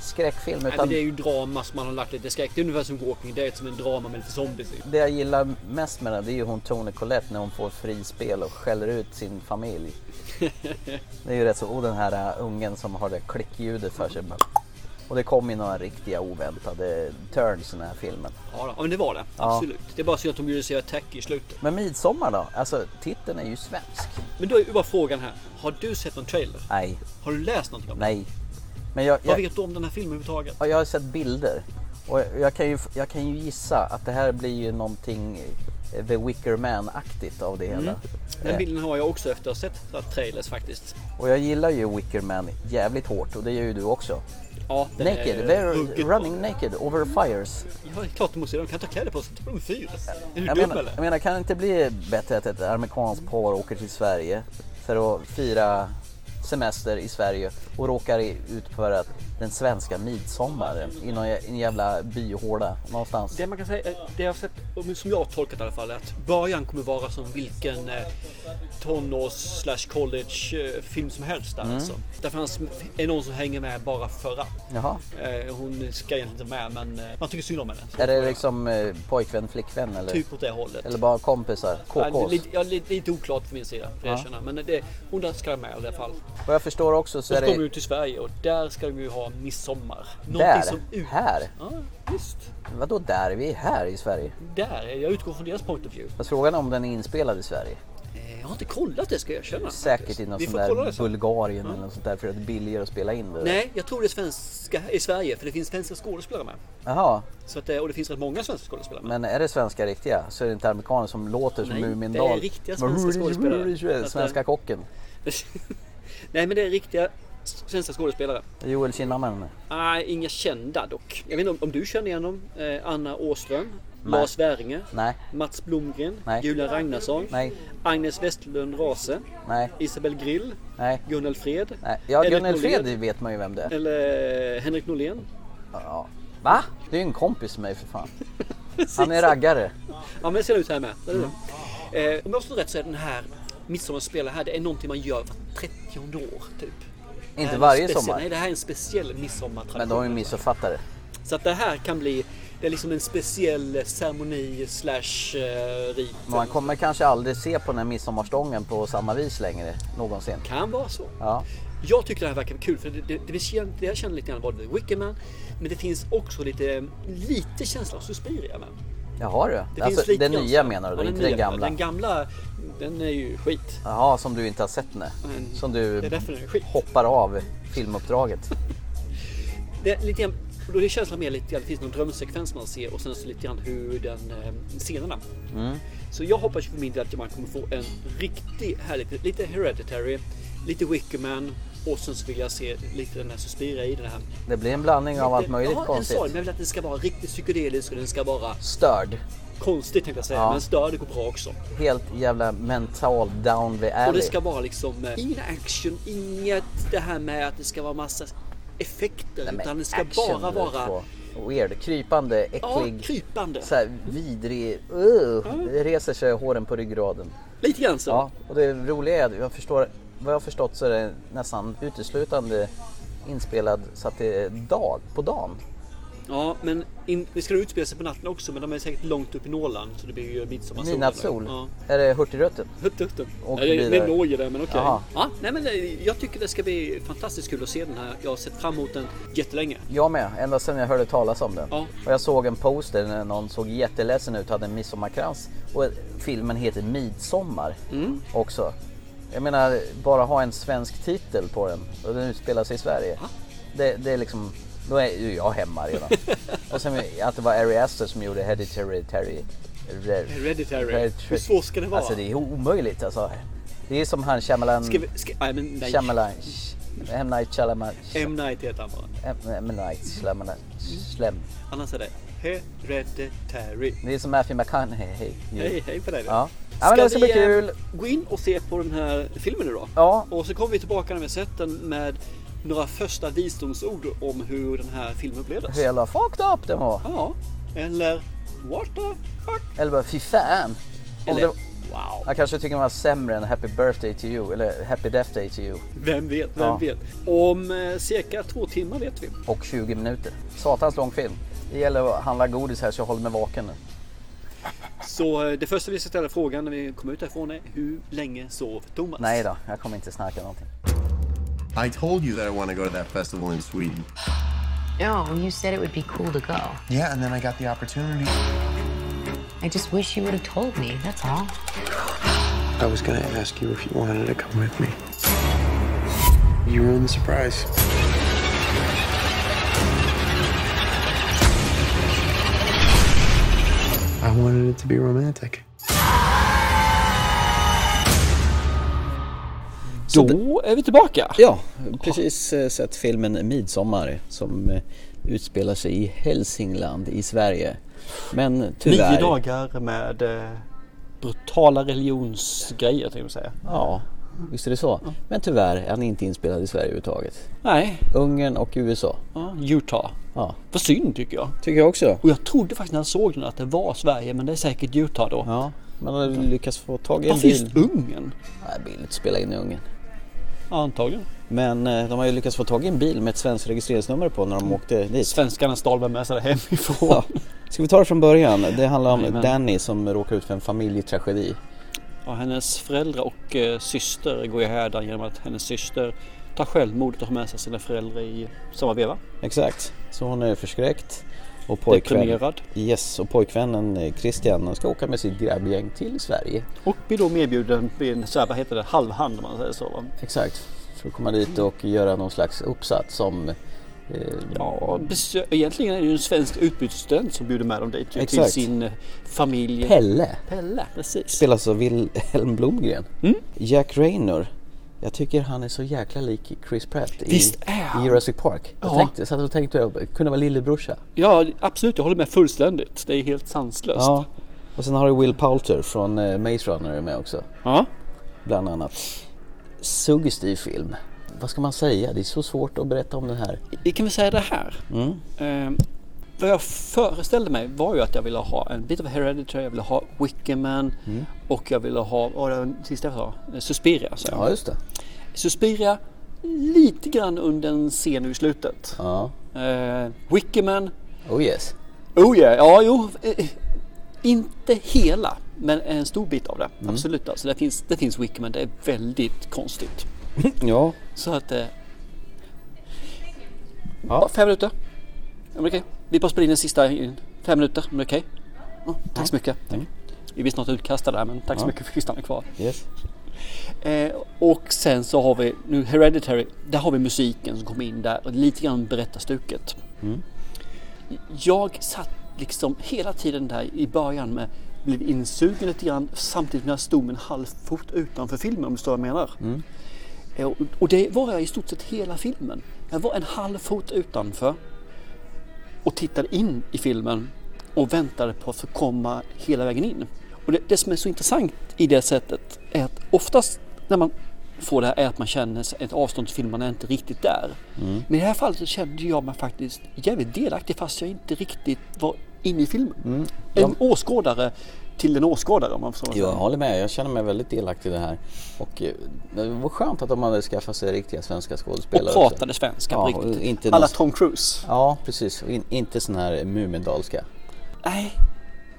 Speaker 1: skräckfilm
Speaker 2: Nej, men
Speaker 1: utan
Speaker 2: det är ju drama som man har lagt lite skräck. Det är ungefär som Walking Dead som en drama med lite zombies i.
Speaker 1: det jag gillar mest med den det är ju hon Tony Collette när hon får frispel och skäller ut sin familj. Det är ju rätt så, och den här äh, ungen som har det klickljudet för sig. Och det kom ju några riktiga oväntade turns i den här filmen.
Speaker 2: Ja, då. ja, men det var det.
Speaker 1: Ja.
Speaker 2: Absolut. Det är bara så att de gjorde sig attack i slutet.
Speaker 1: Men Midsommar då? Alltså titeln är ju svensk.
Speaker 2: Men då är ju bara frågan här. Har du sett någon trailer?
Speaker 1: Nej.
Speaker 2: Har du läst någonting om den?
Speaker 1: Nej. Men jag,
Speaker 2: Vad
Speaker 1: jag,
Speaker 2: vet du om den här filmen överhuvudtaget?
Speaker 1: Ja, jag har sett bilder. Och jag- jag kan, ju, jag kan ju gissa att det här blir ju någonting eh, The Wicker Man-aktigt av det hela.
Speaker 2: Den
Speaker 1: Eh,
Speaker 2: bilden har jag också efter att ha sett så här trailers faktiskt.
Speaker 1: Och jag gillar ju Wicker Man jävligt hårt och det gör ju du också.
Speaker 2: Ja, den är
Speaker 1: naked,
Speaker 2: ju hugget
Speaker 1: they're
Speaker 2: på.
Speaker 1: running naked over fires.
Speaker 2: Ja, det är klart du måste. De kan ta kläder på sig. Ta på dem fyra. Är du
Speaker 1: Jag
Speaker 2: dum
Speaker 1: menar,
Speaker 2: eller?
Speaker 1: jag menar, kan det inte bli bättre att ett amerikanskt par åker till Sverige för att fira semester i Sverige och råkar i- ut för att den svenska midsommaren i någon jä- en jävla byhåla någonstans.
Speaker 2: Det man kan säga, eh, det jag har sett, och som jag har tolkat i alla fall, är att början kommer vara som vilken eh, tonårs slash college eh, film som helst där
Speaker 1: Mm.
Speaker 2: alltså. Där fanns, är någon som hänger med bara för att.
Speaker 1: Jaha.
Speaker 2: Eh, hon ska egentligen inte med men eh, man tycker synd om henne.
Speaker 1: Är det liksom eh, pojkvän, flickvän eller?
Speaker 2: Typ åt det hållet.
Speaker 1: Eller bara kompisar?
Speaker 2: Ja,
Speaker 1: KKs?
Speaker 2: lite, ja, lite, lite oklart för min sida, för
Speaker 1: Ja.
Speaker 2: jag erkänna. Men det, hon där ska med i alla fall.
Speaker 1: Vad jag förstår också
Speaker 2: Och
Speaker 1: så
Speaker 2: så
Speaker 1: är
Speaker 2: kommer vi
Speaker 1: det...
Speaker 2: ut till Sverige och där ska vi ju ha midsommar.
Speaker 1: Där?
Speaker 2: ut-
Speaker 1: Här?
Speaker 2: Ja, visst.
Speaker 1: Vadå där? Vi är här i Sverige.
Speaker 2: Där. Jag utgår från deras point of view.
Speaker 1: Fast frågan är om den är inspelad i Sverige?
Speaker 2: Eh, Jag har inte kollat det ska jag erkänna.
Speaker 1: Säkert i någon
Speaker 2: Vi
Speaker 1: sån
Speaker 2: får kolla det
Speaker 1: där
Speaker 2: sen. Mm.
Speaker 1: Bulgarien eller något sånt där för att det är billigare att spela in det.
Speaker 2: Nej, jag tror det är svenska i Sverige för det finns svenska skådespelare med.
Speaker 1: Jaha,
Speaker 2: Så att, eh, och det finns rätt många svenska skådespelare med.
Speaker 1: men är det svenska riktiga så är det inte amerikaner som låter som
Speaker 2: Nej,
Speaker 1: Mumindal.
Speaker 2: det är riktiga
Speaker 1: Bara,
Speaker 2: svenska skådespelare. eh,
Speaker 1: "Hurri, Svenska kocken.
Speaker 2: Nej, men det är riktiga s- svenska skådespelare.
Speaker 1: Joel Kinnaman.
Speaker 2: Nej, inga kända dock. Jag vet inte om, om du känner igen dem? Eh, Anna Åström,
Speaker 1: Nej.
Speaker 2: Lars Werringe,
Speaker 1: Nej.
Speaker 2: Mats Blomgren,
Speaker 1: Nej.
Speaker 2: Julia Ragnarsson,
Speaker 1: Nej.
Speaker 2: Agnes Westerlund Rase,
Speaker 1: Nej.
Speaker 2: Isabel Grill,
Speaker 1: Nej.
Speaker 2: Gunnel Fred,
Speaker 1: Nej. Ja,
Speaker 2: Henrik
Speaker 1: Gunnel
Speaker 2: Norlén.
Speaker 1: Fred vet man ju vem det är.
Speaker 2: Eller eh, Henrik Norlén.
Speaker 1: Ja. Va? Det är ju en kompis med mig för fan. Han är raggare.
Speaker 2: Ja men det ser ut här med. Det är det. Eh, om jag förstår rätt så är den här midsommarspelaren här, det är någonting man gör var 30 år typ. Det här är
Speaker 1: Inte
Speaker 2: en
Speaker 1: varje
Speaker 2: speciell,
Speaker 1: sommar.
Speaker 2: Nej, det här är en speciell
Speaker 1: Men de är
Speaker 2: midsommartradition.
Speaker 1: missuppfattare.
Speaker 2: Så att det här kan bli Det är liksom en speciell ceremoni slash eh, rit.
Speaker 1: Man kommer kanske aldrig se på den här midsommarstången på samma vis längre någonsin.
Speaker 2: Kan vara så.
Speaker 1: Ja.
Speaker 2: Jag tycker det här verkar kul för det, det, det, känner, det jag känner lite grann var The Wicker Man. Men det finns också lite, lite känsla av Suspiria med.
Speaker 1: Jaha du.
Speaker 2: Det
Speaker 1: alltså,
Speaker 2: finns lite
Speaker 1: den nya
Speaker 2: grann-
Speaker 1: menar du då,
Speaker 2: Ja,
Speaker 1: inte den
Speaker 2: nya.
Speaker 1: gamla?
Speaker 2: Den gamla, den är ju skit.
Speaker 1: Jaha, som du inte har sett nu.
Speaker 2: Mm.
Speaker 1: Som du
Speaker 2: Det är därför den är skit.
Speaker 1: hoppar av filmuppdraget.
Speaker 2: Det är lite grann, då är det känslan mer lite grann, det finns någon drömsekvens man ser och sen så lite grann hur den eh, scenerna.
Speaker 1: Mm.
Speaker 2: Så jag hoppas ju för min del att man kommer få en riktig härlig, lite Hereditary, lite Wickerman och sen så vill jag se lite den här Suspira i den här.
Speaker 1: Det blir en blandning av allt
Speaker 2: Lite-
Speaker 1: möjligt
Speaker 2: jag har
Speaker 1: konstigt.
Speaker 2: en sorg men jag vill att den ska vara riktigt psykedelisk och den ska vara
Speaker 1: Störd.
Speaker 2: konstigt tänkte jag säga.
Speaker 1: Ja.
Speaker 2: Men störd går bra också.
Speaker 1: Helt jävla mental down the
Speaker 2: Och det
Speaker 1: alley.
Speaker 2: ska vara liksom eh, ingen action, inget det här med att det ska vara massa effekter
Speaker 1: Nej, men
Speaker 2: utan det ska
Speaker 1: action
Speaker 2: bara
Speaker 1: du vet,
Speaker 2: vara
Speaker 1: så. Weird, krypande, äcklig.
Speaker 2: Ja, krypande.
Speaker 1: Så här vidrig. Ugh, Det reser sig håren på ryggraden.
Speaker 2: Lite grann så.
Speaker 1: Ja, och det roliga är att jag förstår, vad jag har förstått så är det nästan uteslutande inspelad så att det är dag, på dagen.
Speaker 2: Ja, men in, det ska utspela sig på natten också, men de är säkert långt upp i Norrland så det blir ju midsommarsol.
Speaker 1: Midnattssol.
Speaker 2: Ja.
Speaker 1: Är det Hurtigruten?
Speaker 2: Hurtigruten.
Speaker 1: Och
Speaker 2: Nej, det, det
Speaker 1: vidare.
Speaker 2: är Norge där, men okej.
Speaker 1: Jaha.
Speaker 2: Ja, nej, men det- jag tycker det ska bli fantastiskt kul att se den här. Jag har sett fram emot den jättelänge.
Speaker 1: Jag med, ända sedan jag hörde talas om den.
Speaker 2: Ja.
Speaker 1: Och jag såg en poster när någon såg jätteledsen ut, hade en midsommarkrans. Och filmen heter Midsommar
Speaker 2: Mm.
Speaker 1: också. Jag menar, bara ha en svensk titel på den och den utspelar sig i Sverige. Det, det är liksom, då är ju jag hemma redan. och sen att det var Ari Aster som gjorde Hereditary. Terry,
Speaker 2: Hereditary. Hur svårt ska det vara?
Speaker 1: Alltså det är omöjligt alltså. Det är som han Shyamalan...
Speaker 2: Ska vi, ska, nej, men nej.
Speaker 1: Shyamalan... M. Night Shyamalan...
Speaker 2: M. Night heter han bara.
Speaker 1: M. M. Night Shyamalan... Shlem.
Speaker 2: Annars är det Hereditary.
Speaker 1: Det är som Matthew McConaughey. ju.
Speaker 2: Hej, hej på dig.
Speaker 1: Mm. Ja. ja men det ska bli
Speaker 2: vi, eh,
Speaker 1: kul.
Speaker 2: gå in och se på den här filmen nu då?
Speaker 1: Ja.
Speaker 2: Och så kommer vi tillbaka när vi har sett den med några första visdomsord om hur den här filmen upplevdes.
Speaker 1: Hur jävla fucked up den var.
Speaker 2: Ja, eller what the fuck?
Speaker 1: Eller bara fy fan. Om
Speaker 2: Eller,
Speaker 1: det-
Speaker 2: wow.
Speaker 1: Jag kanske tycker den var sämre än Happy birthday to you eller Happy death day to you.
Speaker 2: Vem vet, vem
Speaker 1: Ja.
Speaker 2: vet. Om eh, cirka två timmar vet vi.
Speaker 1: Och 20 minuter. Satans lång film. Det gäller att handla godis här så jag håller mig vaken nu.
Speaker 2: Så eh, det första vi ska ställa frågan när vi kommer ut härifrån är hur länge sov Thomas?
Speaker 1: Nej då, jag kommer inte snacka någonting.
Speaker 15: I told you that I want to go to that festival in Sweden.
Speaker 16: No, you said it would be cool to go.
Speaker 10: Yeah, and then I got the opportunity.
Speaker 16: I just wish you would have told me, that's all.
Speaker 9: I was gonna ask you if you wanted to come with me. You ruined the surprise. I wanted it to be romantic.
Speaker 1: Så
Speaker 2: Då är vi tillbaka.
Speaker 1: Ja, precis eh, sett filmen Midsommar som eh, utspelar sig i Hälsingland i Sverige. Men tyvärr.
Speaker 2: Nio dagar med eh, brutala religionsgrejer tänkte jag säga.
Speaker 1: Ja, visst är det så. Men tyvärr är han inte inspelad i Sverige överhuvudtaget.
Speaker 2: Nej.
Speaker 1: Ungern och USA.
Speaker 2: Ja, Utah.
Speaker 1: Ja.
Speaker 2: Vad synd tycker jag.
Speaker 1: Tycker jag också.
Speaker 2: Och jag trodde faktiskt när jag såg den att det var Sverige men det är säkert Utah då.
Speaker 1: Ja, man har lyckats få tag i en
Speaker 2: Varför just
Speaker 1: bil.
Speaker 2: Ungern?
Speaker 1: Nej, det blir inte spela in i Ungern.
Speaker 2: Ja, antagligen.
Speaker 1: Men eh, de har ju lyckats få tag i en bil med ett svenskt registreringsnummer på när de åkte dit.
Speaker 2: Svenskarna stal väl med sig det hemifrån.
Speaker 1: Mm. Ja. Ska vi ta det från början? Det handlar om
Speaker 2: Jajamän.
Speaker 1: Danny som råkar ut för en familjetragedi.
Speaker 2: Ja, hennes föräldrar och eh, syster går ju härdan genom att hennes syster tar självmord och tar med sig sina föräldrar i samma veva.
Speaker 1: Exakt, så hon är förskräckt. Och pojkvän...
Speaker 2: Deprimerad.
Speaker 1: Yes, och pojkvännen eh, Christian han ska åka med sitt grabbgäng till Sverige.
Speaker 2: Och blir då medbjuden vid en så här, vad heter det, halvhand om man säger så. Va?
Speaker 1: Exakt, för att komma dit och göra någon slags uppsats som... Eh,
Speaker 2: Ja, besö- egentligen är det ju en svensk utbytesstudent som bjuder med dem dit ju, till
Speaker 1: Exakt.
Speaker 2: sin eh, familj.
Speaker 1: Pelle.
Speaker 2: Pelle, precis.
Speaker 1: Spelas av Wilhelm Blomgren. Jack Raynor. Jag tycker han är så jäkla lik Chris Pratt i,
Speaker 2: Visst är han?
Speaker 1: i Jurassic Park. Jag
Speaker 2: Ja.
Speaker 1: tänkte, satt och tänkte, jag kunde vara lillebrorsa.
Speaker 2: Ja, absolut. Jag håller med fullständigt. Det är helt sanslöst.
Speaker 1: Ja. Och sen har du Will Poulter från eh, Maze Runner är med också.
Speaker 2: Ja.
Speaker 1: Bland annat. Suggestiv film. Vad ska man säga? Det är så svårt att berätta om den här.
Speaker 2: Vi kan väl säga det här.
Speaker 1: Mm.
Speaker 2: Eh, vad jag föreställde mig var ju att jag ville ha en bit av Hereditary, jag ville ha Wickerman
Speaker 1: Mm.
Speaker 2: och jag ville ha, vad var det sista jag sa? Eh, Suspiria. Så.
Speaker 1: Ja, just det.
Speaker 2: Suspiria lite grann under en scen i slutet.
Speaker 1: Ja.
Speaker 2: Eh, Wickerman
Speaker 1: Oh yes.
Speaker 2: Oh yeah, ja jo. Eh, Inte hela, men en stor bit av det.
Speaker 1: Mm.
Speaker 2: Absolut. Alltså, det, finns, det finns wiki, men det är väldigt konstigt.
Speaker 1: Ja.
Speaker 2: Så att... Eh, bara Fem minuter. Ja, men Okej, vi bara spelar in den sista. i- Fem minuter, men okej. Ja, tack så mycket. Tack. Vi blir snart utkastade där, men tack så
Speaker 1: Ja.
Speaker 2: mycket för att vi stannar kvar.
Speaker 1: Yes.
Speaker 2: Eh, och sen så har vi nu Hereditary. Där har vi musiken som kom in där och lite grann berättar stuket.
Speaker 1: Mm.
Speaker 2: Jag satt liksom hela tiden där i början med blev insugen lite grann samtidigt som jag stod med en halv fot utanför filmen om du förstår vad jag menar.
Speaker 1: Mm.
Speaker 2: Eh, och- Och det var jag i stort sett hela filmen. Jag var en halv fot utanför och tittade in i filmen och väntade på att få komma hela vägen in. Och det, det som är så intressant i det sättet är att oftast när man får det här är att man känner sig- ett avstånd till filmen man är inte riktigt där.
Speaker 1: Mm.
Speaker 2: Men i det här fallet så kände jag mig faktiskt jävligt delaktig fast jag inte riktigt var inne i filmen.
Speaker 1: Mm.
Speaker 2: En åskådare till en åskådare om man förstår vad jag
Speaker 1: Jag
Speaker 2: säger.
Speaker 1: håller med, jag känner mig väldigt delaktig i det här. Och eh, det var skönt att de hade skaffat sig riktiga svenska skådespelare.
Speaker 2: Och
Speaker 1: också.
Speaker 2: pratade svenska på
Speaker 1: och
Speaker 2: riktigt.
Speaker 1: Inte
Speaker 2: Alla
Speaker 1: någon-
Speaker 2: Tom Cruise.
Speaker 1: Ja, precis. Och In, inte sån här Mumindalska.
Speaker 2: Nej,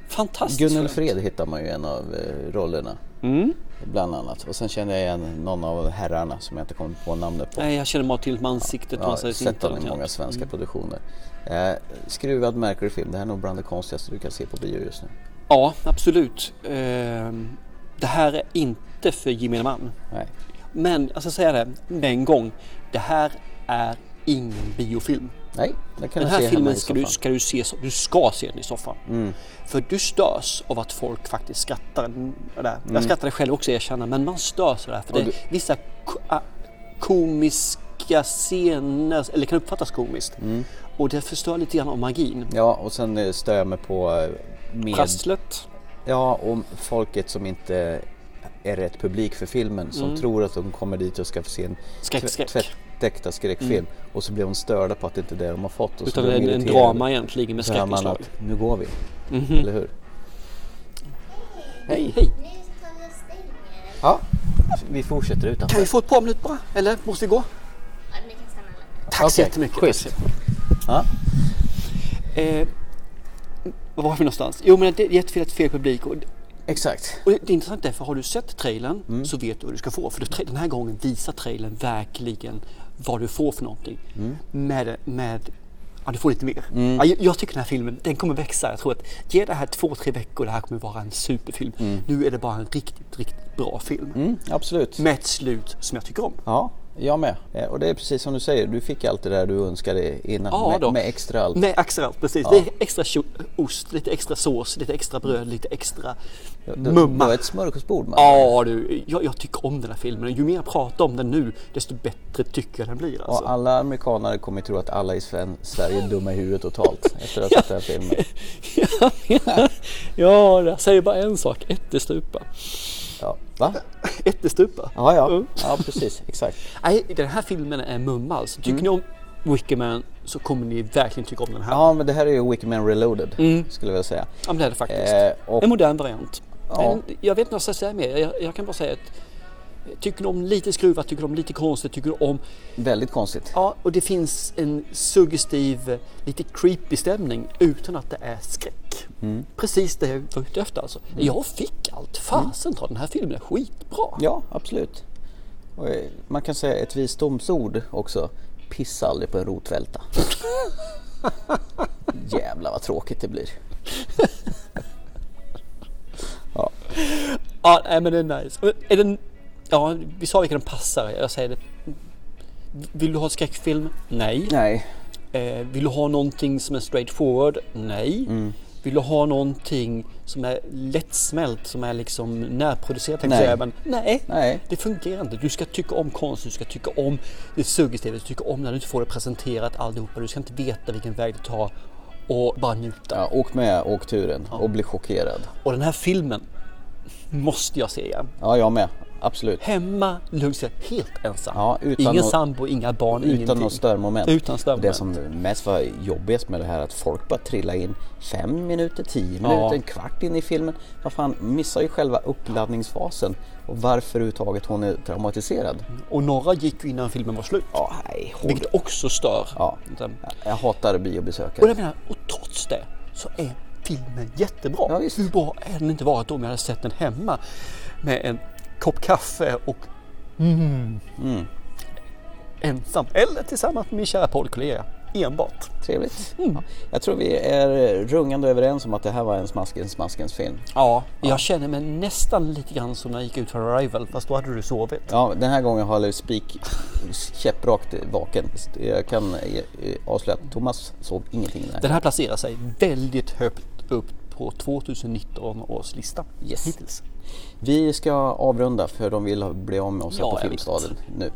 Speaker 2: fantastiskt
Speaker 1: Gunnel
Speaker 2: skönt.
Speaker 1: Fred hittar man ju i en av eh, rollerna.
Speaker 2: Mm.
Speaker 1: Bland annat. Och sen kände jag igen någon av herrarna som jag inte kommer på namnet på.
Speaker 2: Nej, jag känner bara till ansiktet.
Speaker 1: Jag
Speaker 2: man
Speaker 1: har
Speaker 2: säger
Speaker 1: sett
Speaker 2: inte
Speaker 1: honom i
Speaker 2: något
Speaker 1: många
Speaker 2: annat.
Speaker 1: svenska
Speaker 2: Mm.
Speaker 1: produktioner. Eh, skruvad Mercury-film, det här är nog bland det konstigaste du kan se på bio just nu.
Speaker 2: Ja, absolut. Ehm, Det här är inte för gemene man.
Speaker 1: Nej.
Speaker 2: Men jag ska säga det med en gång. Det här är ingen biofilm.
Speaker 1: Nej, det kan
Speaker 2: Den
Speaker 1: du
Speaker 2: här
Speaker 1: se hemma
Speaker 2: filmen
Speaker 1: i
Speaker 2: ska du,
Speaker 1: soffan.
Speaker 2: ska du, se, so- du ska se den i soffan.
Speaker 1: Mm.
Speaker 2: För du störs av att folk faktiskt skrattar. Mm, det där.
Speaker 1: Mm.
Speaker 2: Jag skrattade själv också erkänna, men man störs av det här. För det
Speaker 1: Och
Speaker 2: är vissa ko- a- komiska scener, eller kan uppfattas komiskt.
Speaker 1: Mm.
Speaker 2: Och det förstör lite grann av magin.
Speaker 1: Ja, och sen eh, stör jag mig på eh, med...
Speaker 2: Prasslet.
Speaker 1: Ja, och folket som inte är rätt publik för filmen som
Speaker 2: Mm.
Speaker 1: tror att de kommer dit och ska få se en
Speaker 2: Skräck,
Speaker 1: tv-
Speaker 2: skräck.
Speaker 1: tvättäkta skräckfilm
Speaker 2: Mm.
Speaker 1: och så blir de störda på att det inte är det de har fått. Och så
Speaker 2: Utan
Speaker 1: blir de
Speaker 2: en- en
Speaker 1: irriterade.
Speaker 2: drama egentligen med
Speaker 1: Då hör man
Speaker 2: skräckinslag.
Speaker 1: att Nu går vi,
Speaker 2: Mhm.
Speaker 1: eller hur?
Speaker 2: Hej, hej!
Speaker 1: Ja, vi fortsätter utanför.
Speaker 2: Kan vi få ett par minuter bara? Eller måste vi gå? Tack så
Speaker 1: Okej,
Speaker 2: jättemycket.
Speaker 1: schysst.
Speaker 2: Tack så jättemycket.
Speaker 1: Ja.
Speaker 2: Eh, var var vi någonstans? Jo men det är jättefel fel publik. Och,
Speaker 1: Exakt.
Speaker 2: Och det är intressant därför, har du sett trailern
Speaker 1: Mm.
Speaker 2: så vet du vad du ska få. För det- den här gången visar trailern verkligen vad du får för någonting.
Speaker 1: Mm.
Speaker 2: Med, med Ja, du får lite mer.
Speaker 1: Mm.
Speaker 2: Ja, jag, jag tycker den här filmen, den kommer växa. Jag tror att ge det här två, tre veckor, det här kommer vara en superfilm.
Speaker 1: Mm.
Speaker 2: Nu är det bara en riktigt, riktigt bra film.
Speaker 1: absolut.
Speaker 2: Med ett slut som jag tycker om.
Speaker 1: Ja, jag med. Eh, Och det är precis som du säger, du fick allt det där du önskade innan
Speaker 2: Ja, då.
Speaker 1: med, med extra allt.
Speaker 2: Med extra allt, precis.
Speaker 1: Ja.
Speaker 2: Det är extra tjo- ost, lite extra sås, lite extra bröd, lite extra
Speaker 1: det-
Speaker 2: mumma.
Speaker 1: det var ett smörgåsbord, man.
Speaker 2: Ja du, jag, jag tycker om den här filmen. Och Ju mer jag pratar om den nu, desto bättre tycker jag den blir. Alltså.
Speaker 1: Och alla amerikanare kommer tro att alla i Sven- Sverige är dumma i huvudet totalt efter att ha sett den här filmen.
Speaker 2: Ja, jag säger bara en sak. Ättestupa.
Speaker 1: Ja, va?
Speaker 2: Ättestupa.
Speaker 1: Ja, ja. ja precis. Exakt.
Speaker 2: Nej, den här filmen är mumma alltså. Tycker ni om Wickerman så kommer ni verkligen tycka om den här.
Speaker 1: Mm. Ja, men det här är ju Wickman Reloaded skulle jag vilja säga.
Speaker 2: Ja, men det är det faktiskt.
Speaker 1: Eh, och-
Speaker 2: En modern variant.
Speaker 1: Ja.
Speaker 2: En, jag vet inte vad jag ska säga mer. Jag, jag kan bara säga att tycker du om lite skruvat, tycker du om lite konstigt, tycker du om...
Speaker 1: Väldigt konstigt.
Speaker 2: Ja, och det finns en suggestiv, lite creepy stämning utan att det är skräck.
Speaker 1: Mm.
Speaker 2: Precis det jag var ute efter alltså. Jag fick allt. Fasen ta den här filmen är skitbra.
Speaker 1: Mm. Ja, absolut. Och, eh, man kan säga ett visdomsord också. Pissa aldrig på en rotvälta. Jävlar vad tråkigt det blir. Ja.
Speaker 2: Ja, nej, men den är nice. Och Är den, ja, vi sa vilka den passar. Jag säger det. Vill du ha skräckfilm? Nej.
Speaker 1: Nej.
Speaker 2: Eh, vill du ha någonting som är straight forward? Nej.
Speaker 1: Mm.
Speaker 2: Vill du ha någonting som är lättsmält, som är liksom närproducerat? tänkte jag
Speaker 1: Nej.
Speaker 2: säga, men Nej.
Speaker 1: Nej.
Speaker 2: Det fungerar inte. Du ska tycka om konst, du ska tycka om det suggestiva, du ska tycka om när du inte får det presenterat alltihopa. Du ska inte veta vilken väg du tar och bara njuta.
Speaker 1: Ja, åk med, åk turen och bli chockerad.
Speaker 2: Och den här filmen måste jag se igen.
Speaker 1: Ja, jag med. Absolut.
Speaker 2: Hemma, lugnt, så helt ensam.
Speaker 1: Ja, utan
Speaker 2: ingen
Speaker 1: att-
Speaker 2: sambo, inga barn,
Speaker 1: Utan
Speaker 2: ingenting.
Speaker 1: något störmoment.
Speaker 2: Utan
Speaker 1: Det
Speaker 2: störmoment.
Speaker 1: som mest var jobbigast med det här att folk bara trillade in fem minuter, tio
Speaker 2: Ja.
Speaker 1: minuter, en kvart in i filmen. Vad fan, missar ju själva uppladdningsfasen och varför överhuvudtaget hon är traumatiserad.
Speaker 2: Och några gick ju innan filmen var slut.
Speaker 1: Ja, nej,
Speaker 2: Vilket också stör.
Speaker 1: Ja.
Speaker 2: Utan-
Speaker 1: Jag hatar
Speaker 2: Och jag
Speaker 1: biobesökare.
Speaker 2: menar, och trots det så är filmen jättebra. Ja, Hur bra hade den inte varit om jag hade sett den hemma med en kopp kaffe och mm, mm. ensam eller tillsammans med min kära poddkollega. Enbart.
Speaker 1: Trevligt. Mm. Ja. Jag tror vi är rungande överens om att det här var en smaskens smaskens film.
Speaker 2: Ja, jag känner mig nästan lite grann som när jag gick ut för Arrival fast då hade du sovit.
Speaker 1: Ja, den här gången håller spik käpprakt vaken. Jag kan eh, avslöja att Thomas såg ingenting där.
Speaker 2: Den här placerar sig väldigt högt upp på 2019 års lista
Speaker 1: yes. hittills. Vi ska avrunda för de vill bli av med oss här ja, på Filmstaden nu.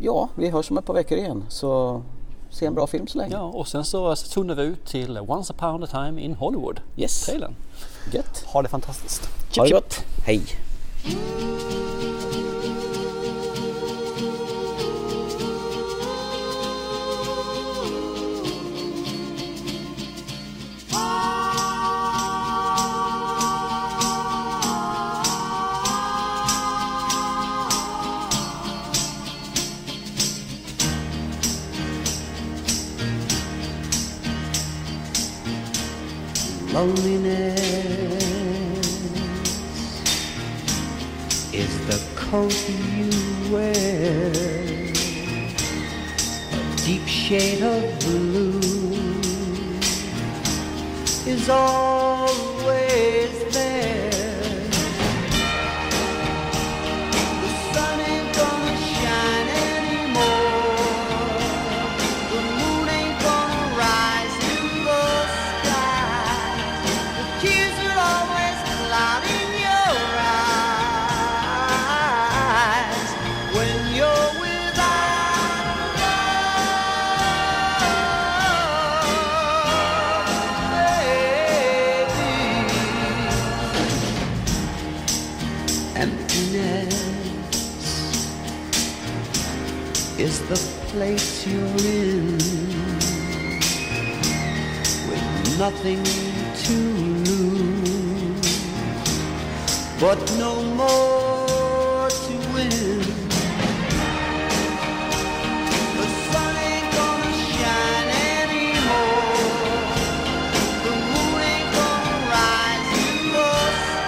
Speaker 1: Ja, vi hörs om ett par veckor igen så se en bra film så länge.
Speaker 2: Ja, och sen så tunnar vi ut till Once upon a time in Hollywood.
Speaker 1: Yes.
Speaker 2: Trailern.
Speaker 1: Gött.
Speaker 2: Ha det fantastiskt.
Speaker 1: Chip, ha det gott. Hej.
Speaker 17: Loneliness is the coat you wear, a deep shade of blue is always there. The sun ain't gonna shine anymore, the moon ain't gonna rise in the sky. Tears are always cloud in your eyes when you're without love, baby. Emptiness is the place you're in with nothing to lose, but no more to win. The sun ain't gonna shine anymore. The moon ain't gonna rise in the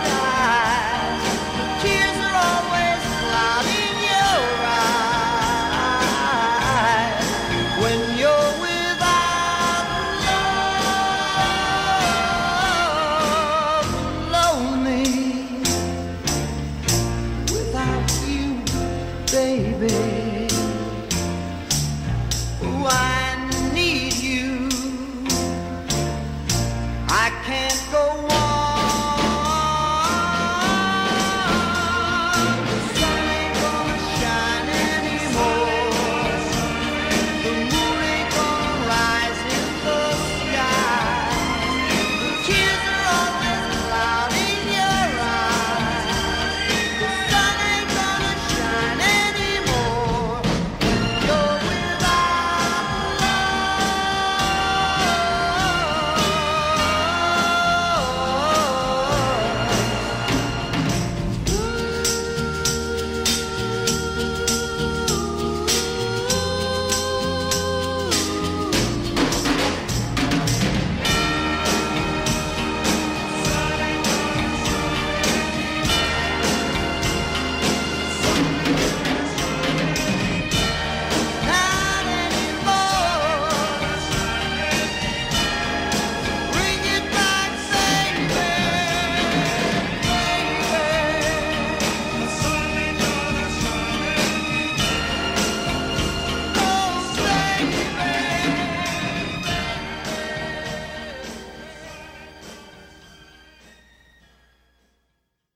Speaker 17: sky. The tears are always cloud in your eyes when you're without love. Lonely without you, baby. Ooh, I need you. I can't go on.